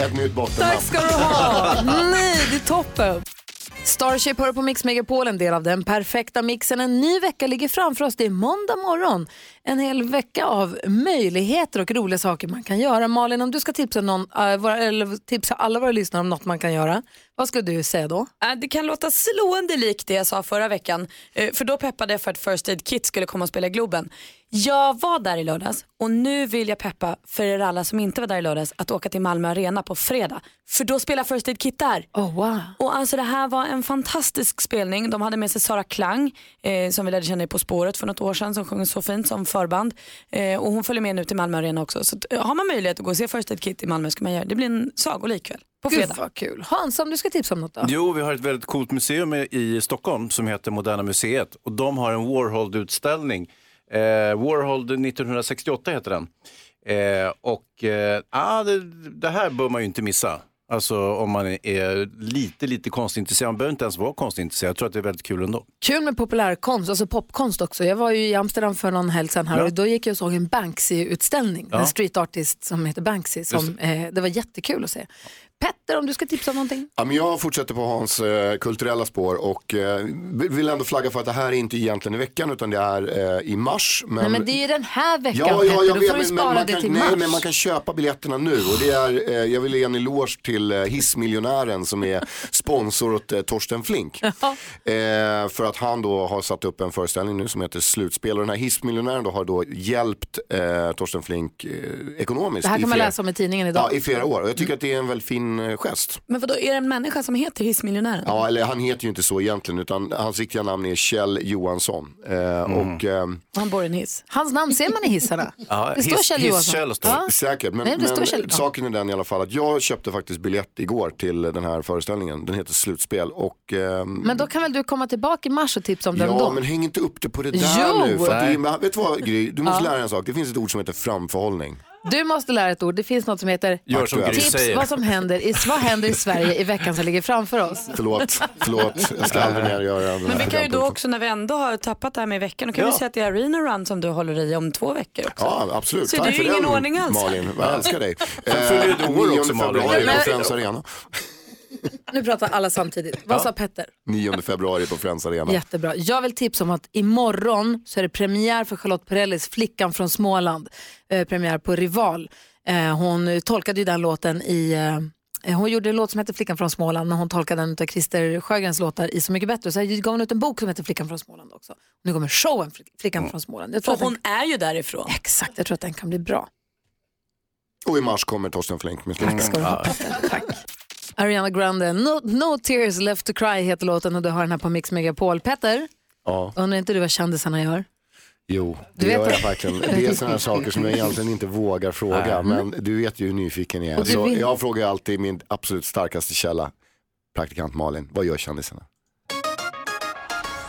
S18: Ett nytt bottennapp.
S1: Tack ska du ha. Nej, det är toppen. Starship hör på Mix Megapol, en del av den perfekta mixen. En ny vecka ligger framför oss. Det är måndag morgon. En hel vecka av möjligheter och roliga saker man kan göra. Malin, om du ska tipsa, någon, eh, våra, eller tipsa alla våra lyssnare om något man kan göra, vad ska du säga då?
S4: Äh, Det kan låta slående likt det jag sa förra veckan. Eh, För då peppade jag för att First Aid Kit skulle komma och spela i Globen. Jag var där i lördags och nu vill jag peppa för er alla som inte var där i lördags att åka till Malmö Arena på fredag. För då spelar First Aid Kit där.
S1: Oh, wow.
S4: Och alltså det här var en fantastisk spelning. De hade med sig Sara Klang eh, som vi lärde känna i På spåret för något år sedan som sjöng så fint som förband. Eh, och hon följer med nu till Malmö Arena också. Så eh, har man möjlighet att gå och se First Aid Kit i Malmö ska man göra det. Det blir en sagolik kväll på
S1: Gud,
S4: fredag.
S1: vad kul. Hans, om du ska tipsa om något då?
S2: Jo, vi har ett väldigt coolt museum i- i Stockholm som heter Moderna Museet och de har en Warhol-utställning. Eh, Warhol 1968 heter den. Eh, och eh, ah, det, det här bör man ju inte missa. Alltså om man är lite, lite konstintresserad. Man behöver inte ens vara konstintresserad. Jag tror att det är väldigt kul ändå.
S1: Kul med populärkonst, alltså popkonst också. Jag var ju i Amsterdam för någon helg sedan här
S2: Ja.
S1: och då gick jag och såg en Banksy-utställning.
S2: Ja.
S1: En street artist som heter Banksy. Som,
S18: Just
S1: eh, det var jättekul att se. Petter, om du ska tipsa om någonting?
S18: Ja, men jag fortsätter på Hans eh, kulturella spår och eh, vill ändå flagga för att det här är inte egentligen i veckan utan det är eh, i mars. Men...
S1: Nej men det är ju den här veckan
S18: Ja, ja,
S1: Petter,
S18: jag
S1: då
S18: vet,
S1: får du
S18: men, men,
S1: spara
S18: man
S1: det
S18: kan,
S1: till
S18: nej,
S1: mars.
S18: men man kan köpa biljetterna nu och det är, eh, jag vill ge en eloge till eh, hissmiljonären som är sponsor åt eh, Torsten Flink. Eh, för att han då har satt upp en föreställning nu som heter Slutspel och den här hissmiljonären då har då hjälpt eh, Torsten Flink eh, ekonomiskt.
S1: Det här
S18: i
S1: kan man
S18: flera-
S1: läsa om i tidningen idag.
S18: Ja, i flera år och jag tycker att det är en väldigt fin eh, gest.
S4: Men vadå, är det en människa som heter hissmiljonären?
S18: Ja,
S1: Mm.
S18: eller han heter ju inte så egentligen utan hans riktiga namn är Kjell Johansson. Eh, och, ehm,
S4: Och han bor i en hiss.
S1: Hans namn ser man i hissarna.
S18: Ja,
S1: det står Kjell Johansson. Ja.
S18: Säkert, men,
S1: Nej, det står
S18: men
S1: Kjell. Ja.
S18: saken är den i alla fall att jag köpte faktiskt biljett igår till den här föreställningen. Den heter Slutspel och ehm,
S1: Men då kan väl du komma tillbaka i mars och tipsa Mm. om den då?
S18: Ja, men häng inte upp det på det där
S1: Jo!
S18: nu. För att det,
S1: Nej.
S18: är- vet du vad Gry, du måste
S1: Ja.
S18: lära dig en sak. Det finns ett ord som heter framförhållning.
S1: Du måste lära ett ord. Det finns något som heter
S18: Gör som Gry
S1: tips
S18: säger.
S1: vad som händer i, vad händer i Sverige i veckan som ligger framför oss.
S18: Förlåt, förlåt. Jag ska aldrig mer göra den
S4: Men
S18: här
S4: vi kan ju då
S18: programpunkten.
S4: också när vi ändå har tappat det här med i veckan, då kan
S18: Ja.
S4: vi säga att det är Arena Run som du håller i om två veckor också.
S18: Ja, absolut.
S4: Så
S18: Tack
S4: det är ju
S18: för
S4: ingen
S18: den,
S4: ordning alls.
S18: Malin, jag älskar dig.
S2: Sen fyller du år
S18: 9
S2: också, Malin.
S18: februari
S2: Men-
S18: på Friends Arena.
S1: Nu pratar alla samtidigt. Vad sa Petter?
S18: 9 februari på Friends Arena.
S1: Jättebra. Jag vill tipsa om att imorgon så är det premiär för Charlotte Perrellis Flickan från Småland. Eh, premiär på Rival. Eh, hon tolkade ju den låten i... Eh, hon gjorde en låt som heter Flickan från Småland men hon tolkade den av Christer Sjögrens låtar i Så mycket bättre. Så gav hon ut en bok som heter Flickan från Småland också. Nu kommer showen Fl- Flickan från Småland. Jag tror,
S4: Och
S1: att den,
S4: hon är ju därifrån.
S1: Exakt, jag tror att den kan bli bra.
S18: Och i mars kommer Torsten Flink med Tack
S1: ska du ha. Ariana Grande, no, no tears left to cry heter låten och du har den här på Mix Megapol. Petter,
S18: Ja,
S1: undrar inte du vad kändisarna gör?
S18: jo,
S1: Du
S18: det
S1: vet
S18: gör jag
S1: det.
S18: verkligen. Det är sådana här saker som jag egentligen inte vågar fråga.
S8: Mm.
S18: Men du vet ju hur nyfiken jag är.
S1: Och du
S18: Så
S1: vill-
S18: jag frågar alltid min absolut starkaste källa, praktikant Malin. Vad gör kändisarna?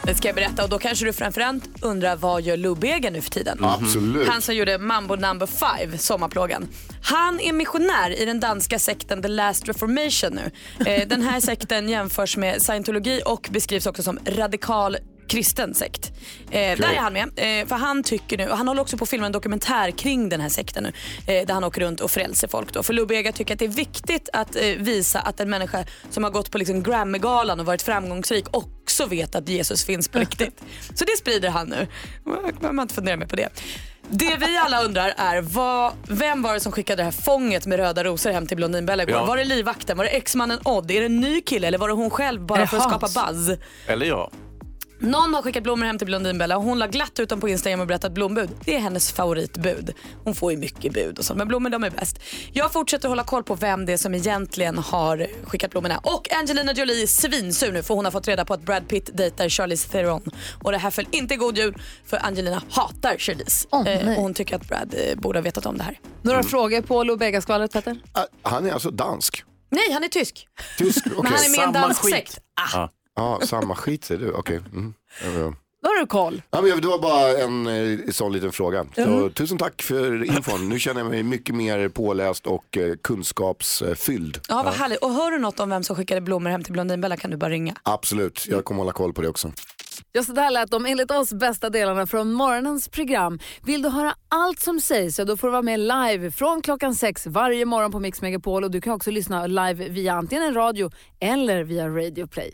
S4: Det ska jag berätta och då kanske du framförallt undrar vad gör Lubbegen nu för tiden?
S18: Mhm. Absolut.
S4: Han som gjorde Mambo number five, sommarplågan. Han är missionär i den danska sekten The Last Reformation nu. Eh, den här sekten jämförs med scientologi och beskrivs också som radikal kristen sekt. Eh, Där är han med. Eh, för han tycker nu, och han håller också på att filma en dokumentär kring den här sekten nu. Eh, där han åker runt och frälser folk då. För Lubega tycker att det är viktigt att eh, visa att en människa som har gått på liksom Grammy-galan och varit framgångsrik också vet att Jesus finns på riktigt. Så det sprider han nu. Man behöver inte fundera mer på det. Det vi alla undrar är vad, vem var det som skickade det här fånget med röda rosor hem till Blondinbella igår?
S2: Ja.
S4: Var det livvakten? Var det exmannen Odd? Är det en ny kille eller var det hon själv
S2: Är
S4: bara
S2: det
S4: för att skapa
S2: Hans?
S4: buzz?
S2: Eller jag.
S4: Någon har skickat blommor hem till Blondinbella och hon la glatt ut dem på Instagram och berättat blombud. Det är hennes favoritbud. Hon får ju mycket bud och sånt men blommor de är bäst. Jag fortsätter hålla koll på vem det är som egentligen har skickat blommorna. Och Angelina Jolie är svinsur nu för hon har fått reda på att Brad Pitt dejtar Charlize Theron. Och det här föll inte i god jul för Angelina hatar Charlize. Eh, och hon tycker att Brad eh, borde ha vetat om det här.
S1: Några
S18: Mm.
S1: frågor på Lobega-skvalet, Petter?
S18: Han är alltså dansk.
S4: Nej, han är tysk.
S18: Tysk, okej.
S4: Men han är med i en dansk sekt.
S1: Ah.
S18: Ja, samma skit säger du. Okej. Mm. Ja,
S1: Då har du koll.
S18: Ja, men jag- det var bara en eh, sån liten fråga.
S1: Mm.
S18: Så, tusen tack för infon. Nu känner jag mig mycket mer påläst och eh, kunskapsfylld.
S4: Ja, vad härligt. Och hör du något om vem som skickade blommor hem till Blondinbella kan du bara ringa.
S18: Absolut, jag kommer hålla koll på det också.
S1: Ja, så där lät de enligt oss bästa delarna från morgonens program. Vill du höra allt som sägs så då får du vara med live från klockan sex varje morgon på Mix Megapol och du kan också lyssna live via antingen en radio eller via Radio Play.